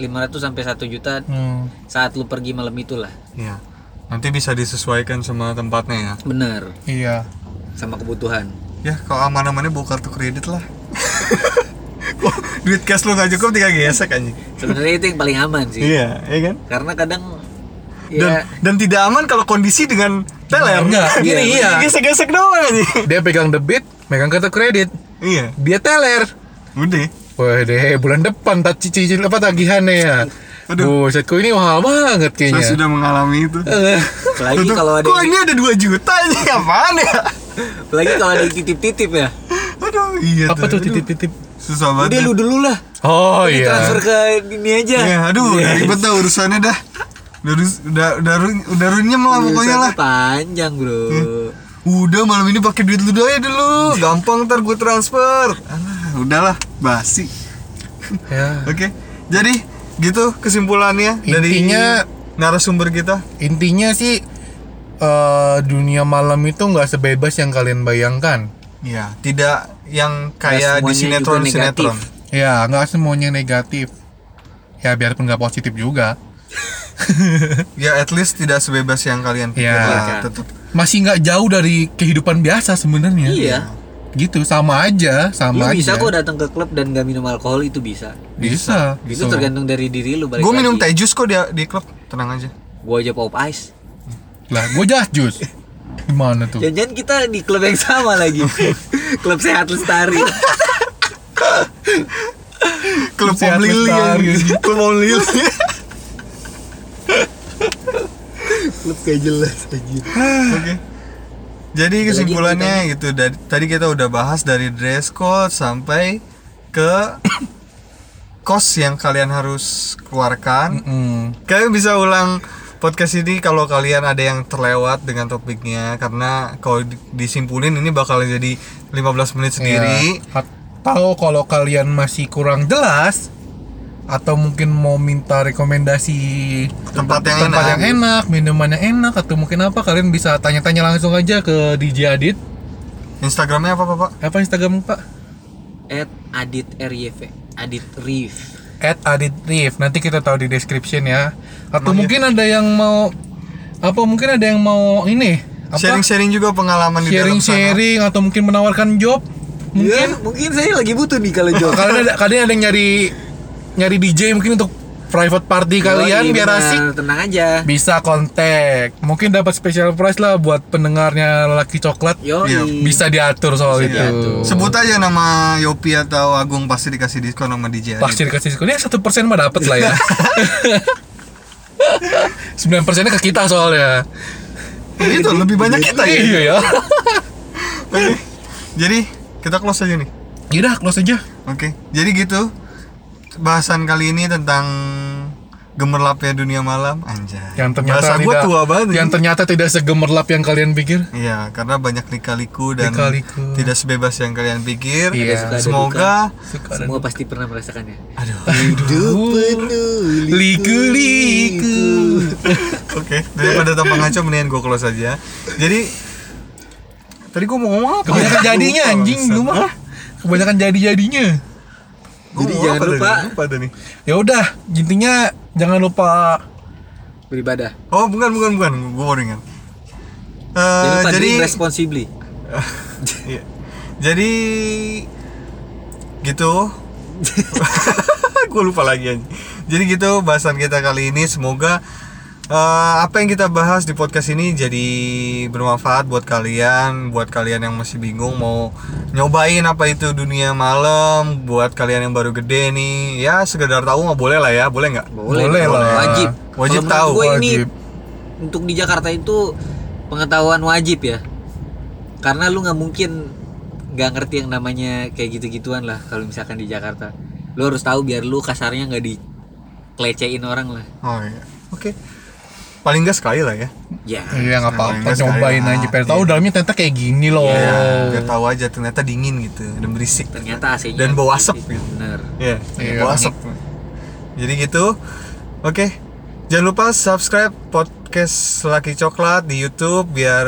[SPEAKER 3] 100 500 sampai 1 juta
[SPEAKER 2] Hmm.
[SPEAKER 3] saat lu pergi malam itulah.
[SPEAKER 1] Iya. Nanti bisa disesuaikan sama tempatnya ya.
[SPEAKER 3] Bener
[SPEAKER 2] Iya.
[SPEAKER 3] sama kebutuhan.
[SPEAKER 1] Ya, kalau aman-amannya bawa kartu kredit lah. Kok duit cash lu nggak cukup tiga gesek anjing.
[SPEAKER 3] Sebenarnya itu yang paling aman sih.
[SPEAKER 1] Iya, iya kan?
[SPEAKER 3] Karena kadang
[SPEAKER 2] Iya.
[SPEAKER 1] Dan
[SPEAKER 3] ya
[SPEAKER 1] dan tidak aman kalau kondisi dengan teler.
[SPEAKER 2] Enggak, gini, iya.
[SPEAKER 1] Gesek-gesek doang anjing.
[SPEAKER 2] Dia pegang debit, megang kartu kredit,
[SPEAKER 1] Iya,
[SPEAKER 2] dia teler.
[SPEAKER 1] udah.
[SPEAKER 2] Wah deh, bulan depan tak cicil apa tagihannya ya.
[SPEAKER 1] Aduh.
[SPEAKER 2] Buset, kok ini mahal banget
[SPEAKER 1] Saya
[SPEAKER 2] kayaknya.
[SPEAKER 1] sudah mengalami itu.
[SPEAKER 2] Iya. Eh,
[SPEAKER 3] lagi
[SPEAKER 1] Tuh,
[SPEAKER 3] kalau ada
[SPEAKER 1] Kok ini ada 2 juta ini apaan ya?
[SPEAKER 3] lagi kalau ada yang titip-titip ya.
[SPEAKER 1] Aduh, iya
[SPEAKER 2] apa
[SPEAKER 1] aduh.
[SPEAKER 2] tuh titip-titip?
[SPEAKER 1] Susah
[SPEAKER 3] Udah
[SPEAKER 1] banget.
[SPEAKER 3] lu dulu lah.
[SPEAKER 2] Oh
[SPEAKER 3] Ini
[SPEAKER 2] iya.
[SPEAKER 3] Transfer ke ini aja.
[SPEAKER 1] Ya, aduh, udah
[SPEAKER 3] Iya.
[SPEAKER 1] ribet dah urusannya dah. Udah, rus- udah, udah, run- udah runyem lah pokoknya
[SPEAKER 3] Urusannya
[SPEAKER 1] lah.
[SPEAKER 3] Panjang, Bro.
[SPEAKER 1] Udah malam ini pakai duit lu aja dulu. Gampang ntar gue transfer. Iya. Alah, udahlah, basi.
[SPEAKER 2] Ya.
[SPEAKER 1] Oke. Jadi gitu kesimpulannya
[SPEAKER 2] Intinya-
[SPEAKER 1] dari narasumber kita.
[SPEAKER 2] Intinya sih eh, dunia malam itu nggak sebebas yang kalian bayangkan.
[SPEAKER 1] Ya, tidak yang kayak
[SPEAKER 3] Nggak
[SPEAKER 1] di
[SPEAKER 3] semuanya juga
[SPEAKER 1] sinetron-sinetron.
[SPEAKER 3] negatif.
[SPEAKER 2] Ya, nggak semuanya negatif. Ya biarpun nggak positif juga.
[SPEAKER 1] Ya, at least tidak sebebas yang kalian pikir
[SPEAKER 2] Ya.
[SPEAKER 1] lah. Tetap
[SPEAKER 2] Masih nggak jauh dari kehidupan biasa sebenarnya.
[SPEAKER 3] Iya.
[SPEAKER 2] Gitu, sama aja,
[SPEAKER 3] Lu
[SPEAKER 2] sama aja.
[SPEAKER 3] bisa kok datang ke klub dan gak minum alkohol itu bisa.
[SPEAKER 2] Bisa.
[SPEAKER 3] Itu tergantung dari diri lu balik
[SPEAKER 1] Gue minum
[SPEAKER 3] lagi.
[SPEAKER 1] teh jus kok di, di klub, tenang aja.
[SPEAKER 3] Gua aja pop ice.
[SPEAKER 2] Lah, gue jas jus. Gimana tuh?
[SPEAKER 3] Jangan-jangan kita di klub yang sama lagi. klub sehat lestari.
[SPEAKER 1] Klub
[SPEAKER 2] Sehat
[SPEAKER 1] Om Lili
[SPEAKER 2] lestari.
[SPEAKER 1] anjing. Klub Om Lili.
[SPEAKER 3] klub kayak jelas aja.
[SPEAKER 1] Oke. Jadi kesimpulannya gitu dari, tadi kita udah bahas dari dress code sampai ke kos yang kalian harus keluarkan.
[SPEAKER 2] Hmm.
[SPEAKER 1] Kalian bisa ulang podcast ini kalau kalian ada yang terlewat dengan topiknya karena kalau di- disimpulin ini bakal jadi 15 menit sendiri.
[SPEAKER 2] Ya. Atau kalau kalian masih kurang jelas atau mungkin mau minta rekomendasi
[SPEAKER 1] Tempat yang
[SPEAKER 2] tempat
[SPEAKER 1] enak.
[SPEAKER 2] yang enak, minuman yang enak atau mungkin apa kalian bisa tanya-tanya langsung aja ke DJ Adit.
[SPEAKER 1] Instagramnya apa, Pak?
[SPEAKER 2] Apa Instagram Pak?
[SPEAKER 3] At Adit RYV. Adit Reef.
[SPEAKER 2] At Adit Rif. Nanti kita tahu di description ya. Atau
[SPEAKER 1] iya.
[SPEAKER 2] mungkin ada yang mau apa mungkin ada yang mau ini apa
[SPEAKER 1] Sharing-sharing juga pengalaman di dalam sana.
[SPEAKER 2] sharing-sharing atau mungkin menawarkan job mungkin
[SPEAKER 3] Ya, mungkin saya lagi butuh nih kalau jok.
[SPEAKER 2] kalian ada kalian ada yang nyari nyari DJ mungkin untuk private party kalian
[SPEAKER 3] Yoi,
[SPEAKER 2] biar
[SPEAKER 3] benar.
[SPEAKER 2] asik
[SPEAKER 3] Tenang aja.
[SPEAKER 2] bisa kontak mungkin dapat special price lah buat pendengarnya lelaki coklat
[SPEAKER 3] Yo.
[SPEAKER 1] Iya,
[SPEAKER 2] bisa diatur soal itu
[SPEAKER 3] diatur.
[SPEAKER 1] Sebut aja nama Yopi atau Agung pasti dikasih diskon sama DJ. Adit.
[SPEAKER 2] pasti dikasih diskon ya satu persen mah dapat lah ya 9% persennya ke kita soalnya
[SPEAKER 1] Itu lebih banyak kita ya.
[SPEAKER 2] iya ya
[SPEAKER 1] Oke. Jadi kita close aja nih.
[SPEAKER 2] yaudah close aja
[SPEAKER 1] Oke. Jadi gitu bahasan kali ini tentang gemerlapnya dunia malam anjay.
[SPEAKER 2] yang ternyata
[SPEAKER 1] Bahasa gua
[SPEAKER 2] tidak
[SPEAKER 1] tua banget.
[SPEAKER 2] yang
[SPEAKER 1] ini.
[SPEAKER 2] ternyata tidak segemerlap yang kalian pikir
[SPEAKER 1] Iya, karena banyak lika-liku dan
[SPEAKER 2] Lika-liku.
[SPEAKER 1] tidak sebebas yang kalian pikir.
[SPEAKER 2] Iya.
[SPEAKER 3] suka, ada
[SPEAKER 1] Semoga
[SPEAKER 2] Suka ada-
[SPEAKER 3] Semua pasti pernah merasakannya.
[SPEAKER 1] aduh.
[SPEAKER 2] liku-liku
[SPEAKER 1] Oke, daripada tanpa ngaco mendingan gua close aja. Jadi tadi gua mau ngomong apa?
[SPEAKER 2] Kebanyakan jadinya
[SPEAKER 1] Lupa,
[SPEAKER 2] anjing
[SPEAKER 1] bangsat.
[SPEAKER 2] lu mah. Kebanyakan jadi-jadinya.
[SPEAKER 1] Gua
[SPEAKER 3] Jadi
[SPEAKER 1] mau
[SPEAKER 3] jangan
[SPEAKER 1] apa tadi?
[SPEAKER 3] lupa.
[SPEAKER 1] Lupa tadi.
[SPEAKER 2] Ya udah, intinya jangan lupa
[SPEAKER 3] Beribadah.
[SPEAKER 1] Oh, bukan bukan bukan. Gua baru ingat. Eh,
[SPEAKER 3] Jangan lupa
[SPEAKER 1] jadi
[SPEAKER 3] drink responsibly.
[SPEAKER 1] Iya. Jadi gitu. gue lupa lagi aja. Jadi gitu bahasan kita kali ini semoga eh, apa yang kita bahas di podcast ini jadi bermanfaat buat kalian, buat kalian yang masih bingung mau nyobain apa itu dunia malam, buat kalian yang baru gede nih, ya sekedar tahu nggak boleh lah ya, boleh nggak?
[SPEAKER 3] Boleh,
[SPEAKER 2] Boleh
[SPEAKER 3] dong.
[SPEAKER 2] lah.
[SPEAKER 3] Wajib.
[SPEAKER 1] Wajib
[SPEAKER 3] Kalau menurut
[SPEAKER 1] tahu.
[SPEAKER 3] Gue ini
[SPEAKER 2] Wajib.
[SPEAKER 3] untuk di Jakarta itu pengetahuan wajib ya. Karena lu nggak mungkin nggak ngerti yang namanya kayak gitu-gituan lah kalau misalkan di Jakarta. Lu harus tahu biar lu kasarnya nggak dikelecehin orang lah.
[SPEAKER 1] Oh iya. Oke. Paling nggak sekali lah ya.
[SPEAKER 3] Ya.
[SPEAKER 2] Iya nggak apa-apa,
[SPEAKER 1] Sekali-sekali
[SPEAKER 2] cobain
[SPEAKER 1] lah.
[SPEAKER 2] aja. Pengen tahu
[SPEAKER 1] Iya.
[SPEAKER 2] dalamnya ternyata kayak gini loh.
[SPEAKER 1] Ya, biar tahu aja ternyata dingin gitu dan berisik.
[SPEAKER 3] Ternyata AC-nya
[SPEAKER 1] Dan bau asap gitu.
[SPEAKER 3] Bener.
[SPEAKER 1] Iya,
[SPEAKER 2] Iya,
[SPEAKER 1] bau asap. Jadi gitu. Oke. Jangan lupa subscribe podcast Laki Coklat di YouTube biar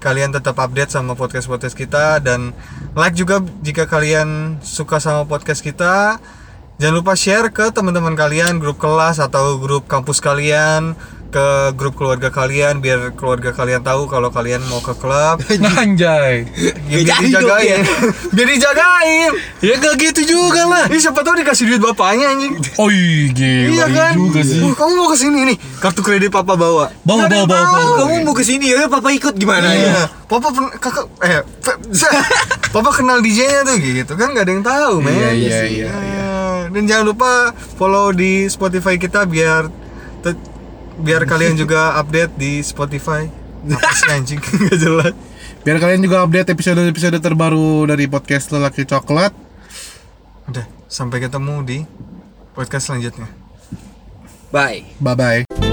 [SPEAKER 1] kalian tetap update sama podcast-podcast kita dan like juga jika kalian suka sama podcast kita. Jangan lupa share ke teman-teman kalian, grup kelas atau grup kampus kalian, ke grup keluarga kalian biar keluarga kalian tahu kalau kalian mau ke klub.
[SPEAKER 2] Nah, anjay.
[SPEAKER 1] Ya,
[SPEAKER 3] Gak
[SPEAKER 1] biar
[SPEAKER 3] jadi dong,
[SPEAKER 1] dijagain. biar dijagain.
[SPEAKER 2] ya gak gitu juga lah.
[SPEAKER 1] Ini siapa tahu dikasih duit bapaknya anjing. Iya
[SPEAKER 2] Oi, gila
[SPEAKER 1] kan?
[SPEAKER 2] juga sih.
[SPEAKER 1] Uh, kamu mau ke sini nih. Kartu kredit papa bawa. Nggak
[SPEAKER 2] Bawa,
[SPEAKER 1] ada
[SPEAKER 2] bawa,
[SPEAKER 1] yang
[SPEAKER 2] bawa, bawa.
[SPEAKER 1] Kamu
[SPEAKER 3] Kamu mau kesini ya, papa ikut gimana ya?
[SPEAKER 1] Iya. Papa pen- kakak eh pe- Papa kenal DJ-nya tuh gitu kan nggak ada yang tahu, men.
[SPEAKER 2] Iya, iya,
[SPEAKER 1] sih.
[SPEAKER 2] iya, iya.
[SPEAKER 1] Dan jangan lupa follow di Spotify kita biar te- biar kalian juga update di Spotify. Apa sih anjing? Nggak jelas.
[SPEAKER 2] Biar kalian juga update episode-episode terbaru dari podcast Lelaki Coklat.
[SPEAKER 1] Udah, sampai ketemu di podcast selanjutnya.
[SPEAKER 3] Bye.
[SPEAKER 2] Bye-bye.